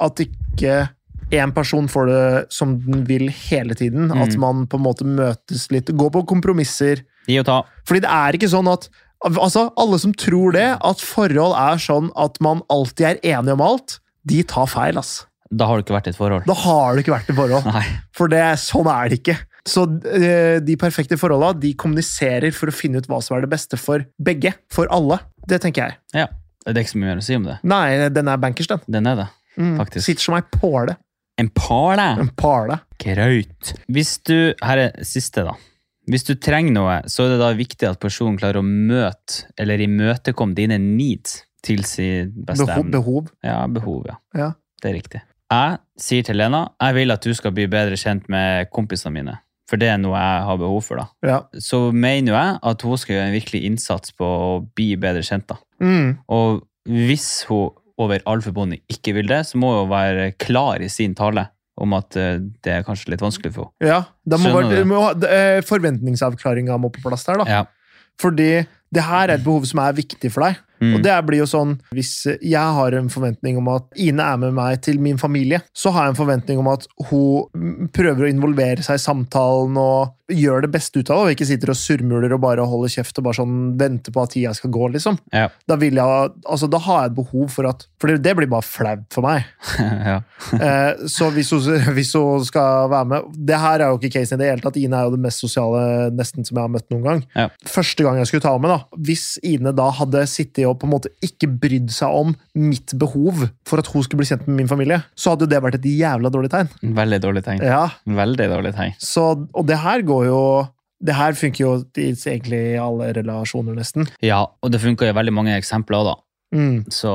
[SPEAKER 1] at ikke én person får det som den vil hele tiden. At
[SPEAKER 2] Mm.
[SPEAKER 1] man på en måte møtes litt. Gå på kompromisser.
[SPEAKER 2] Gi og ta.
[SPEAKER 1] Fordi det er ikke sånn at Altså, alle som tror det, at forhold er sånn at man alltid er enig om alt, de tar feil, ass.
[SPEAKER 2] Da har du ikke vært i et forhold.
[SPEAKER 1] Da har det ikke vært et forhold.
[SPEAKER 2] Nei.
[SPEAKER 1] For det, sånn er det ikke. Så eh, de perfekte forholda, de kommuniserer for å finne ut hva som er det beste for begge. For alle. Det tenker jeg.
[SPEAKER 2] Ja. Det er ikke så mye mer å si om det.
[SPEAKER 1] Nei, den er bankers, den.
[SPEAKER 2] Den er det.
[SPEAKER 1] Mm.
[SPEAKER 2] Faktisk.
[SPEAKER 1] Sitter som ei påle.
[SPEAKER 2] En pale!
[SPEAKER 1] En pale.
[SPEAKER 2] Graut. Hvis du, her er siste da. Hvis du trenger noe, så er det da viktig at personen klarer å møte, eller imøtekomme dine needs til sin beste
[SPEAKER 1] Behov.
[SPEAKER 2] evne.
[SPEAKER 1] behov.
[SPEAKER 2] Ja, behov, ja.
[SPEAKER 1] Ja.
[SPEAKER 2] Det er riktig. Jeg sier til Lena, jeg vil at du skal bli bedre kjent med kompisene mine. For det er noe jeg har behov for da.
[SPEAKER 1] Ja.
[SPEAKER 2] Så mener jo jeg at hun skal gjøre en virkelig innsats på å bli bedre kjent da.
[SPEAKER 1] Mm.
[SPEAKER 2] Og hvis hun over all forbundet ikke vil det, så må hun være klar i sin tale om at eh, det er kanskje litt vanskelig for henne.
[SPEAKER 1] ja. Da må,
[SPEAKER 2] Skjønner
[SPEAKER 1] være-
[SPEAKER 2] det.
[SPEAKER 1] må, eh, forventningsavklaringa må på plass der, da.
[SPEAKER 2] Ja.
[SPEAKER 1] Fordi det her er et behov som er viktig for deg.
[SPEAKER 2] Mm.
[SPEAKER 1] Og det blir jo sånn, Hvis jeg har en forventning om at Ine er med meg til min familie, så har jeg en forventning om at hun prøver å involvere seg i samtalen og gjør det beste ut av det, og ikke sitter og surmuler og bare holder kjeft og bare sånn venter på at tida skal gå. liksom.
[SPEAKER 2] Ja.
[SPEAKER 1] Da, vil jeg, altså, da har jeg et behov for at For det, det blir bare flaut for meg.
[SPEAKER 2] ja.
[SPEAKER 1] Eh, så hvis hun, hvis hun skal være med Det her er jo ikke casen i det hele tatt. Ine er jo det mest sosiale nesten som jeg har møtt noen gang.
[SPEAKER 2] Ja.
[SPEAKER 1] Første gang jeg skulle ta med, da hvis Ine da hadde sittet og på en måte ikke brydd seg om mitt behov for at hun skulle bli kjent med min familie, så hadde jo det vært et jævla dårlig tegn.
[SPEAKER 2] Veldig dårlig tegn.
[SPEAKER 1] Ja,
[SPEAKER 2] Veldig dårlig tegn.
[SPEAKER 1] så, Og det her går jo det her funker jo i- egentlig i alle relasjoner, nesten.
[SPEAKER 2] Ja, og det funker i veldig mange eksempler òg, da.
[SPEAKER 1] Mm.
[SPEAKER 2] Så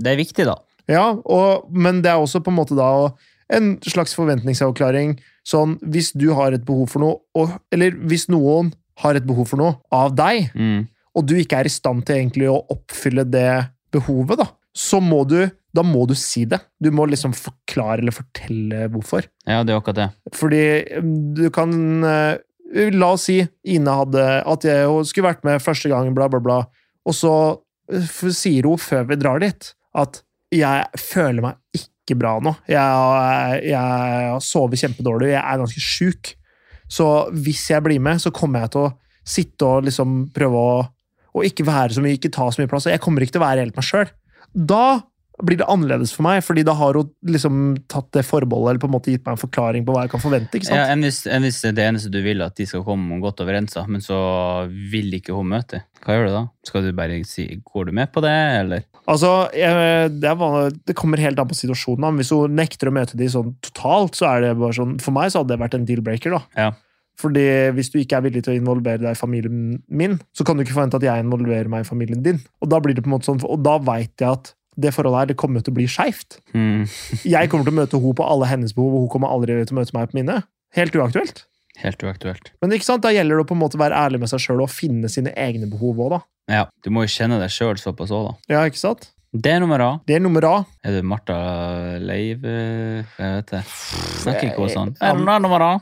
[SPEAKER 2] det er viktig, da.
[SPEAKER 1] Ja, og, men det er også på en måte da å- en slags forventningsavklaring. Sånn, hvis du har et behov for noe, og, eller hvis noen har et behov for noe av deg,
[SPEAKER 2] Mm.
[SPEAKER 1] og du ikke er i stand til egentlig å oppfylle det behovet, da, så må du, da må du si det. Du må liksom forklare eller fortelle hvorfor.
[SPEAKER 2] Ja, det er akkurat det.
[SPEAKER 1] Fordi mm, du kan eh, La oss si Ine hadde at jeg hun skulle vært med første gang, bla, bla, bla. Og så eh, f- sier hun før vi drar dit, at jeg føler meg ikke bra nå. Jeg, har- jeg har sovet kjempedårlig, jeg er ganske sjuk. Så hvis jeg blir med, så kommer jeg til å sitte og liksom prøve å og ikke være så mye, ikke ta så mye plass. Jeg kommer ikke til å være helt meg sjøl. Da blir det annerledes for meg, fordi da har hun liksom tatt det forbeholdet, eller på en måte gitt meg en forklaring på hva jeg kan forvente. ikke sant?
[SPEAKER 2] Ja, enn, hvis, enn hvis det eneste du vil, er at de skal komme godt overens, da, men så vil ikke hun møte deg. Hva gjør du da? Skal du bare si 'går du med på det', eller?
[SPEAKER 1] Altså, jeg, det, er van- det kommer helt an på situasjonen. da, men Hvis hun nekter å møte de sånn totalt, så er det bare sånn For meg så hadde det vært en deal-breaker, da.
[SPEAKER 2] Ja.
[SPEAKER 1] Fordi hvis du ikke er villig til å involvere deg i familien min, så kan du ikke forvente at jeg involverer meg i familien din. Og da blir det på en måte sånn, og da veit jeg at det forholdet her det kommer til å bli skeivt.
[SPEAKER 2] Mm.
[SPEAKER 1] Jeg kommer til å møte henne på alle hennes behov, og hun kommer aldri til å møte meg på mine. Helt uaktuelt.
[SPEAKER 2] Helt uaktuelt.
[SPEAKER 1] Men ikke sant? da gjelder det å på en måte være ærlig med seg sjøl og finne sine egne behov òg, da.
[SPEAKER 2] Ja, du må jo kjenne deg sjøl såpass òg, da.
[SPEAKER 1] Ja, ikke sant?
[SPEAKER 2] Det er nummer A.
[SPEAKER 1] Det er nummer A.
[SPEAKER 2] Er det Martha Leiv eh, Jeg vet det. Snakker ikke hun sånn.
[SPEAKER 1] Ja,
[SPEAKER 2] Er det noe nummer A?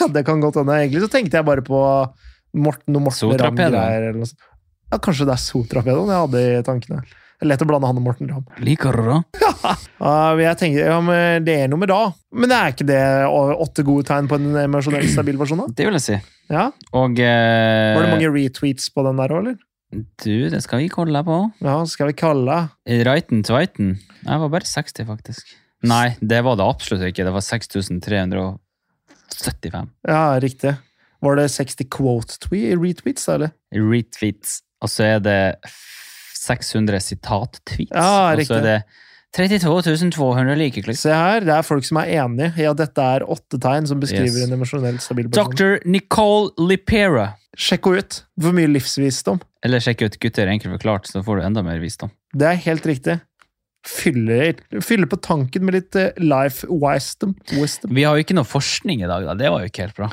[SPEAKER 1] Ja, det kan godt hende. Egentlig så tenkte jeg bare på Morten og Morten Ramm.
[SPEAKER 2] Sotrapedoen.
[SPEAKER 1] greier eller noe sånt. Ja, kanskje det er Sotrapedoen jeg hadde i tankene. Det er Lett å blande han og Morten Ramm.
[SPEAKER 2] Liker du det?
[SPEAKER 1] Ja, men jeg tenker, ja, men Det er noe med da. Men det er ikke det å- åtte gode tegn på en eh, emosjonell stabil versjon? da?
[SPEAKER 2] Det vil jeg si.
[SPEAKER 1] Ja.
[SPEAKER 2] Og eh,
[SPEAKER 1] Var det mange retweets på den der òg, eller?
[SPEAKER 2] Du, det skal vi ikke holde deg på.
[SPEAKER 1] Ja, skal vi kalle
[SPEAKER 2] Reiten Tveiten. Jeg var bare 60, faktisk. Nei, det var det absolutt ikke. Det var 6375.
[SPEAKER 1] Ja, riktig. Var det 60 quote twe- retweets, da, eller?
[SPEAKER 2] Retweets. Og så er det f- 600 sitat-tweets.
[SPEAKER 1] Ja,
[SPEAKER 2] Og så
[SPEAKER 1] riktig.
[SPEAKER 2] er det 32 200 likeklikk.
[SPEAKER 1] Se her, det er folk som er enig i at dette er åtte tegn som beskriver
[SPEAKER 2] Yes.
[SPEAKER 1] en emosjonell stabil person.
[SPEAKER 2] Dr. Nicole Lipera.
[SPEAKER 1] Sjekk henne ut. For mye livsvisdom.
[SPEAKER 2] Eller sjekk ut Gutter enkelt forklart, så får du enda mer visdom.
[SPEAKER 1] Det er helt riktig. Fylle, fylle på tanken med litt eh, life wisdom. wisdom.
[SPEAKER 2] Vi har jo ikke noe forskning i dag, da. Det var jo ikke helt bra.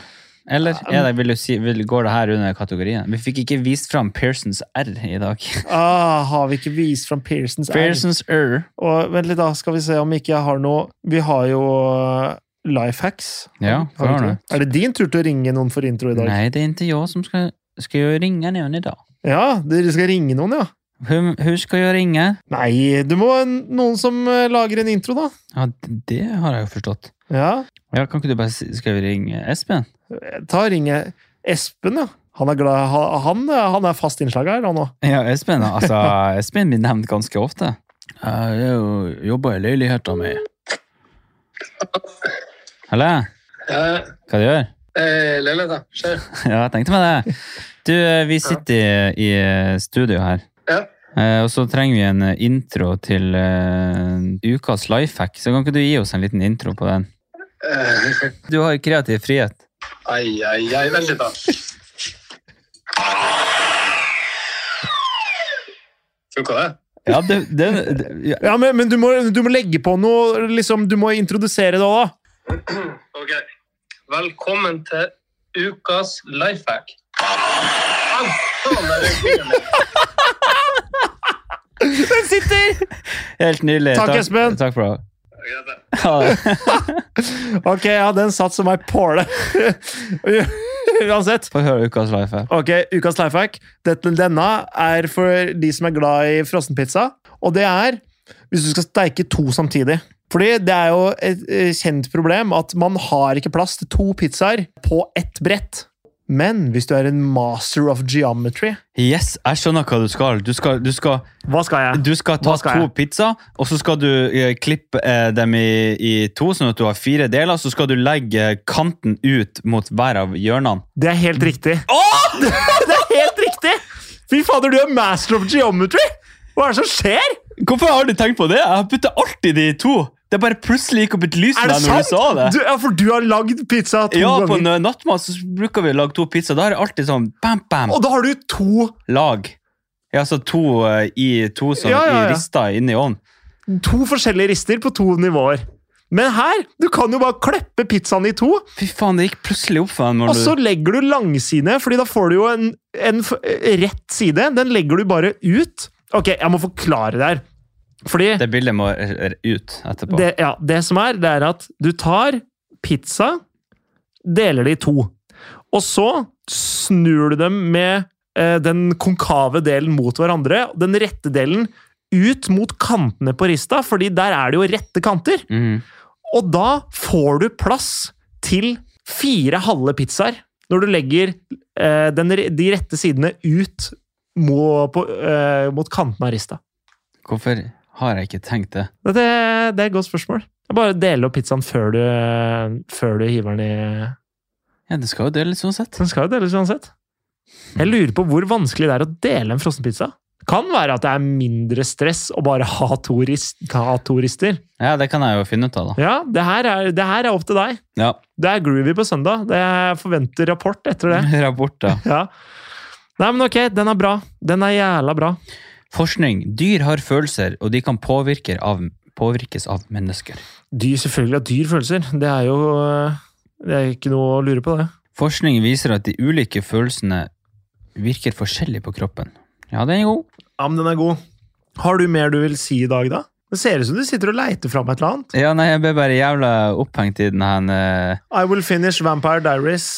[SPEAKER 2] Eller er det, vil du si, vil, går det her under kategorien? Vi fikk ikke vist fram Pearsons R i dag.
[SPEAKER 1] Ah, har vi ikke vist fram Pearsons R?
[SPEAKER 2] Pearsons R.
[SPEAKER 1] Og vent litt, da skal vi se om ikke jeg har noe Vi har jo eh, life hacks.
[SPEAKER 2] Ja,
[SPEAKER 1] har vi
[SPEAKER 2] det har
[SPEAKER 1] ikke det? Er det din tur til å ringe noen for intro i dag?
[SPEAKER 2] Nei, det er ikke jeg som skal, skal jo ringe noen i dag.
[SPEAKER 1] Ja, dere skal ringe noen, ja?
[SPEAKER 2] Hun, hun skal jo ringe.
[SPEAKER 1] Nei, du må ha noen som eh, lager en intro, da.
[SPEAKER 2] Ja, det har jeg jo forstått.
[SPEAKER 1] Ja,
[SPEAKER 2] Ja, kan ikke du bare si, skal vi ringe Espen?
[SPEAKER 1] ta og ringe Espen, ja. Han er, glad, ha- han, eh, han er fast innslag her, han òg.
[SPEAKER 2] Ja, Espen, altså, Espen blir nevnt ganske ofte. Jeg jo jobber i leiligheten min. Hallo,
[SPEAKER 3] Ja,
[SPEAKER 2] hva du gjør?
[SPEAKER 3] eh, Lille, da. Skjer.
[SPEAKER 2] Ja, jeg tenkte meg det. Du, eh, vi sitter i, i studio her.
[SPEAKER 3] Ja.
[SPEAKER 2] Eh, Og så trenger vi en intro til eh, ukas lifehack. Så kan ikke du gi oss en liten intro på den?
[SPEAKER 3] Eh,
[SPEAKER 2] Du har jo kreativ frihet.
[SPEAKER 3] ai, ai, ai. Vent litt, da. Funka det?
[SPEAKER 2] Ja, det, det, det ja.
[SPEAKER 1] Ja, men, men du, må, du må legge på noe, liksom, du må introdusere det òg.
[SPEAKER 3] Ok. Velkommen til ukas lifehack. Au, faen, der røk fingeren min.
[SPEAKER 1] Den sitter!
[SPEAKER 2] Helt nydelig.
[SPEAKER 1] Takk, Espen.
[SPEAKER 2] Takk for det.
[SPEAKER 3] Ok, dette.
[SPEAKER 2] Ha det.
[SPEAKER 1] Ok, ja, den satt som ei påle. Uansett.
[SPEAKER 2] Få høre ukas life her.
[SPEAKER 1] Ok, ukas life hack. Dette- Denne er for de som er glad i frossenpizza. Og det er hvis du skal steike to samtidig. Fordi det er jo et eh, kjent problem at man har ikke plass til to pizzaer på ett brett. Men hvis du er en master of geometry
[SPEAKER 2] Yes, jeg skjønner hva du skal. Du skal, du skal,
[SPEAKER 1] Hva skal jeg?
[SPEAKER 2] du skal ta
[SPEAKER 1] Hva skal
[SPEAKER 2] to
[SPEAKER 1] jeg?
[SPEAKER 2] pizzaer, og så skal du eh, klippe eh, dem i, i to, sånn at du har fire deler. Så skal du legge kanten ut mot hver av hjørnene.
[SPEAKER 1] Det er helt riktig. Det er helt riktig! Fy fader, du er master of geometry! Hva er det som skjer?
[SPEAKER 2] Hvorfor har du tenkt på det? Jeg har putta alltid de i to. Det bare plutselig gikk opp et lys
[SPEAKER 1] Er
[SPEAKER 2] med
[SPEAKER 1] det
[SPEAKER 2] deg når du
[SPEAKER 1] sant?
[SPEAKER 2] sa det.
[SPEAKER 1] Du, ja, for du har lagd pizza to
[SPEAKER 2] Ja, på
[SPEAKER 1] ganger.
[SPEAKER 2] n- nattmat så bruker vi å lage to pizzaer. Da er det alltid sånn bam, bam,
[SPEAKER 1] Og da har du to,
[SPEAKER 2] lag. Ja, så to eh, i to som
[SPEAKER 1] Ja, ja, ja.
[SPEAKER 2] i rista inni ovnen.
[SPEAKER 1] to forskjellige rister på to nivåer. Men her, du kan jo bare kleppe pizzaen i to,
[SPEAKER 2] Fy faen, det gikk plutselig opp for meg.
[SPEAKER 1] og
[SPEAKER 2] når
[SPEAKER 1] så
[SPEAKER 2] du-
[SPEAKER 1] legger du langside, fordi da får du jo en, en f- rett side. Den legger du bare ut. Ok, jeg må forklare det her. Fordi
[SPEAKER 2] Det bildet må eh, eh, ut etterpå.
[SPEAKER 1] Det, ja, det som er, det er at du tar pizza, deler det i to, og så snur du dem med eh, den konkave delen mot hverandre, og den rette delen ut mot kantene på rista, fordi der er det jo rette kanter.
[SPEAKER 2] Mhm.
[SPEAKER 1] Og da får du plass til fire halve pizzaer når du legger eh, den, re- de rette sidene ut mot, på, eh, mot kanten av rista.
[SPEAKER 2] Hvorfor har jeg ikke tenkt det?
[SPEAKER 1] Det, det, det er et godt spørsmål. Jeg bare deler opp pizzaen før du, før du hiver den i
[SPEAKER 2] Ja, Det skal jo sånn deles uansett.
[SPEAKER 1] Den skal jo deles uansett. Jeg lurer på hvor vanskelig det er å dele en frossenpizza. Kan være at det er mindre stress å bare ha to, rist, ha to rister.
[SPEAKER 2] Ja, Det kan jeg jo finne ut av, da.
[SPEAKER 1] Ja, det her, er, det her er opp til deg.
[SPEAKER 2] Ja,
[SPEAKER 1] Det er groovy på søndag. Det jeg forventer rapport etter det.
[SPEAKER 2] Rapport, da.
[SPEAKER 1] Ja. Nei, men ok, den er bra. Den er jævla bra.
[SPEAKER 2] Forskning. Dyr har følelser, og de kan påvirke av, påvirkes av mennesker.
[SPEAKER 1] Dyr, selvfølgelig at dyr følelser. Det er jo eh, Det er ikke noe å lure på, det.
[SPEAKER 2] Forskning viser at de ulike følelsene virker forskjellig på kroppen. Ja, den er god.
[SPEAKER 1] Ja, men den er god. Har du mer du vil si i dag, da? Det ser ut som du sitter og leiter fram et eller annet.
[SPEAKER 2] Ja, nei, Jeg ble bare jævla opphengt i den her eh,
[SPEAKER 1] I will finish Vampire Diaries.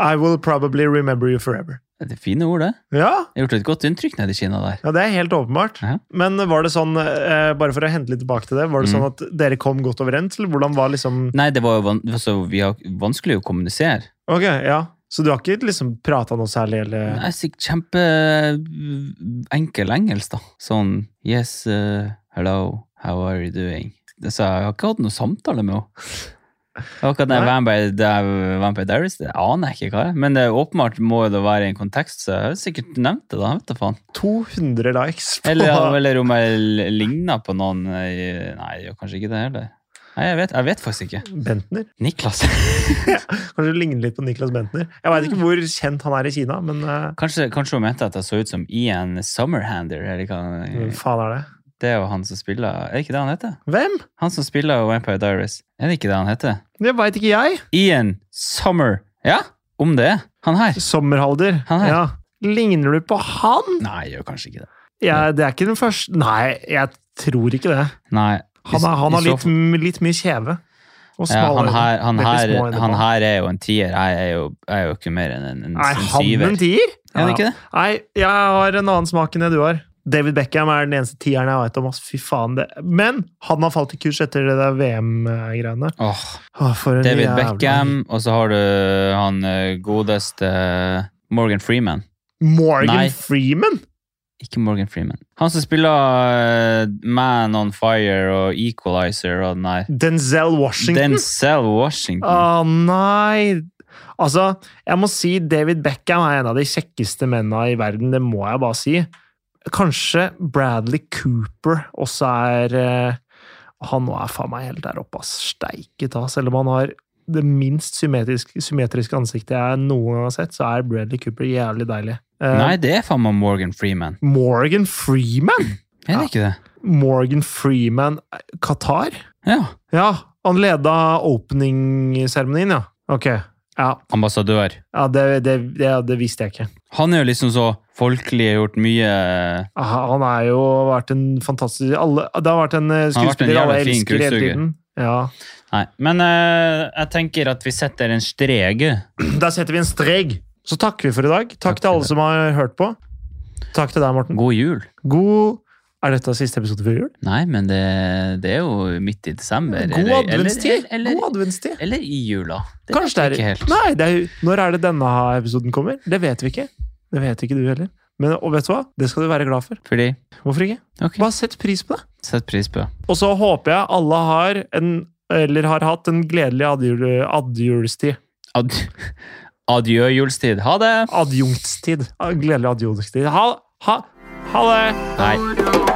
[SPEAKER 1] I will probably remember you forever.
[SPEAKER 2] eh, Det er fine ord, det.
[SPEAKER 1] Ja,
[SPEAKER 2] Jeg har gjort et godt inntrykk nede i Kina der.
[SPEAKER 1] ja det er helt åpenbart.
[SPEAKER 2] Ja.
[SPEAKER 1] Men var det sånn, eh, bare for å hente litt tilbake til det, var det
[SPEAKER 2] Mm.
[SPEAKER 1] sånn at dere kom godt overens? Eller hvordan var liksom
[SPEAKER 2] Nei, det var jo van altså, vi har vanskelig å kommunisere.
[SPEAKER 1] Ok, ja. Så du har ikke liksom prata noe særlig, eller
[SPEAKER 2] Jeg sier kjempeenkel engelsk, da. Sånn Yes, eh, hello, how are you doing? Det sa jeg, jeg har ikke hatt noen samtale med henne. Akkurat den
[SPEAKER 1] Nei.
[SPEAKER 2] Vampire, det er Vampire Diaries, det aner jeg ikke hva er. Men det er åpenbart må jo det være i en kontekst, så jeg har sikkert nevnt det, da. jeg Vet da faen.
[SPEAKER 1] 200 likes? På,
[SPEAKER 2] Eller, eller om jeg l- ligner på noen eh, Nei, jeg gjør kanskje ikke det heller. Nei, jeg vet, jeg vet faktisk ikke.
[SPEAKER 1] Bentner?
[SPEAKER 2] Niklas.
[SPEAKER 1] Kanskje det ligner litt på Niklas Bentner? Jeg veit ikke hvor kjent han er i Kina, men eh,
[SPEAKER 2] Kanskje, kanskje hun mente at jeg så ut som Ian Summerhander. Eller hva?
[SPEAKER 1] hvem faen er det?
[SPEAKER 2] Det er jo han som spiller Er det ikke det han heter?
[SPEAKER 1] Hvem?
[SPEAKER 2] Han som spiller Vampire Diaries. Er det ikke det han heter?
[SPEAKER 1] Det veit ikke jeg.
[SPEAKER 2] Ian Summer. Ja, om det. er. Han her.
[SPEAKER 1] Sommerhalder.
[SPEAKER 2] Han her.
[SPEAKER 1] Ja. Ligner du på han?
[SPEAKER 2] Nei, jeg gjør kanskje ikke det.
[SPEAKER 1] Ja, det er ikke den første Nei, jeg tror ikke det.
[SPEAKER 2] Nei.
[SPEAKER 1] Han, er,
[SPEAKER 2] I
[SPEAKER 1] han har
[SPEAKER 2] så
[SPEAKER 1] litt,
[SPEAKER 2] fall-
[SPEAKER 1] litt mye kjeve. Og
[SPEAKER 2] ja,
[SPEAKER 1] smale
[SPEAKER 2] han, her, han,
[SPEAKER 1] Veldig
[SPEAKER 2] her,
[SPEAKER 1] små øyne
[SPEAKER 2] han
[SPEAKER 1] på.
[SPEAKER 2] her er jo en tier. Jeg er jo, jeg er jo ikke mer enn en, en,
[SPEAKER 1] Er
[SPEAKER 2] en
[SPEAKER 1] han en
[SPEAKER 2] syver.
[SPEAKER 1] tier?
[SPEAKER 2] Er han ikke det?
[SPEAKER 1] Nei, jeg har en annen smak enn det du har. David Beckham er den eneste tieren jeg veit om. ass. Fy faen det. Men han har falt i kurs etter det der VM-greiene.
[SPEAKER 2] Åh,
[SPEAKER 1] Å, for en
[SPEAKER 2] David
[SPEAKER 1] jævla-
[SPEAKER 2] Beckham, og så har du han eh, godeste Morgan Freeman.
[SPEAKER 1] Morgan
[SPEAKER 2] Nei.
[SPEAKER 1] Freeman?
[SPEAKER 2] Ikke Morgan Freeman. Han som spiller eh, Man on Fire og Equalizer og den der.
[SPEAKER 1] Denzel Washington? Ah,
[SPEAKER 2] Denzel Washington.
[SPEAKER 1] Å nei! Altså, jeg må si David Beckham er en av de kjekkeste mennene i verden, det må jeg bare si. Kanskje Bradley Cooper også er eh, Han nå er faen meg helt der oppe, ass. Steiket, ass. Selv om han har det minst symmetriske, symmetriske ansiktet jeg noen gang har sett, så er Bradley Cooper jævlig deilig. Eh,
[SPEAKER 2] Nei, det er faen meg Morgan Freeman.
[SPEAKER 1] Morgan Freeman?
[SPEAKER 2] Er det
[SPEAKER 1] Ja.
[SPEAKER 2] ikke det?
[SPEAKER 1] Morgan Freeman eh, Qatar?
[SPEAKER 2] Ja.
[SPEAKER 1] Ja, han leda opening-seremonien, ja. Ok. Ja,
[SPEAKER 2] Ambassadør.
[SPEAKER 1] Ja, det, det, det, det visste jeg ikke.
[SPEAKER 2] Han er jo liksom så folkelig, har gjort mye
[SPEAKER 1] Aha, Han har jo vært en fantastisk alle, Det har vært en eh,
[SPEAKER 2] vært en
[SPEAKER 1] skuespiller
[SPEAKER 2] jævla
[SPEAKER 1] alle
[SPEAKER 2] fin
[SPEAKER 1] elsker hele
[SPEAKER 2] krigsuger.
[SPEAKER 1] tiden. Ja.
[SPEAKER 2] Nei. Men eh, jeg tenker at vi setter en strek.
[SPEAKER 1] Da setter vi en strek. Så takker vi for i dag. Takk,
[SPEAKER 2] Takk
[SPEAKER 1] til alle
[SPEAKER 2] for
[SPEAKER 1] som har hørt på. Takk til deg, Morten.
[SPEAKER 2] God jul.
[SPEAKER 1] God Er dette siste episode før jul?
[SPEAKER 2] Nei, men det, det er jo midt i desember.
[SPEAKER 1] God
[SPEAKER 2] eller-
[SPEAKER 1] adventstid!
[SPEAKER 2] Eller, eller,
[SPEAKER 1] God adventstid.
[SPEAKER 2] eller i jula. Det vet
[SPEAKER 1] Kanskje det
[SPEAKER 2] jeg
[SPEAKER 1] er
[SPEAKER 2] ikke helt.
[SPEAKER 1] Nei, det er, jo- når er det denne episoden kommer? Det vet vi ikke. Det vet ikke du heller. Men og vet du hva? Det skal du være glad for.
[SPEAKER 2] Fordi
[SPEAKER 1] Hvorfor ikke?
[SPEAKER 2] Ok,
[SPEAKER 1] Bare sett pris på det.
[SPEAKER 2] sett pris på det.
[SPEAKER 1] Og så håper jeg alle har en eller har hatt en gledelig adjul, adjulstid.
[SPEAKER 2] Ad, adjø, julstid. Ha det!
[SPEAKER 1] Adjunktstid. Gledelig adjunktstid. Ha, ha, ha det!
[SPEAKER 2] Hei.
[SPEAKER 4] Hei.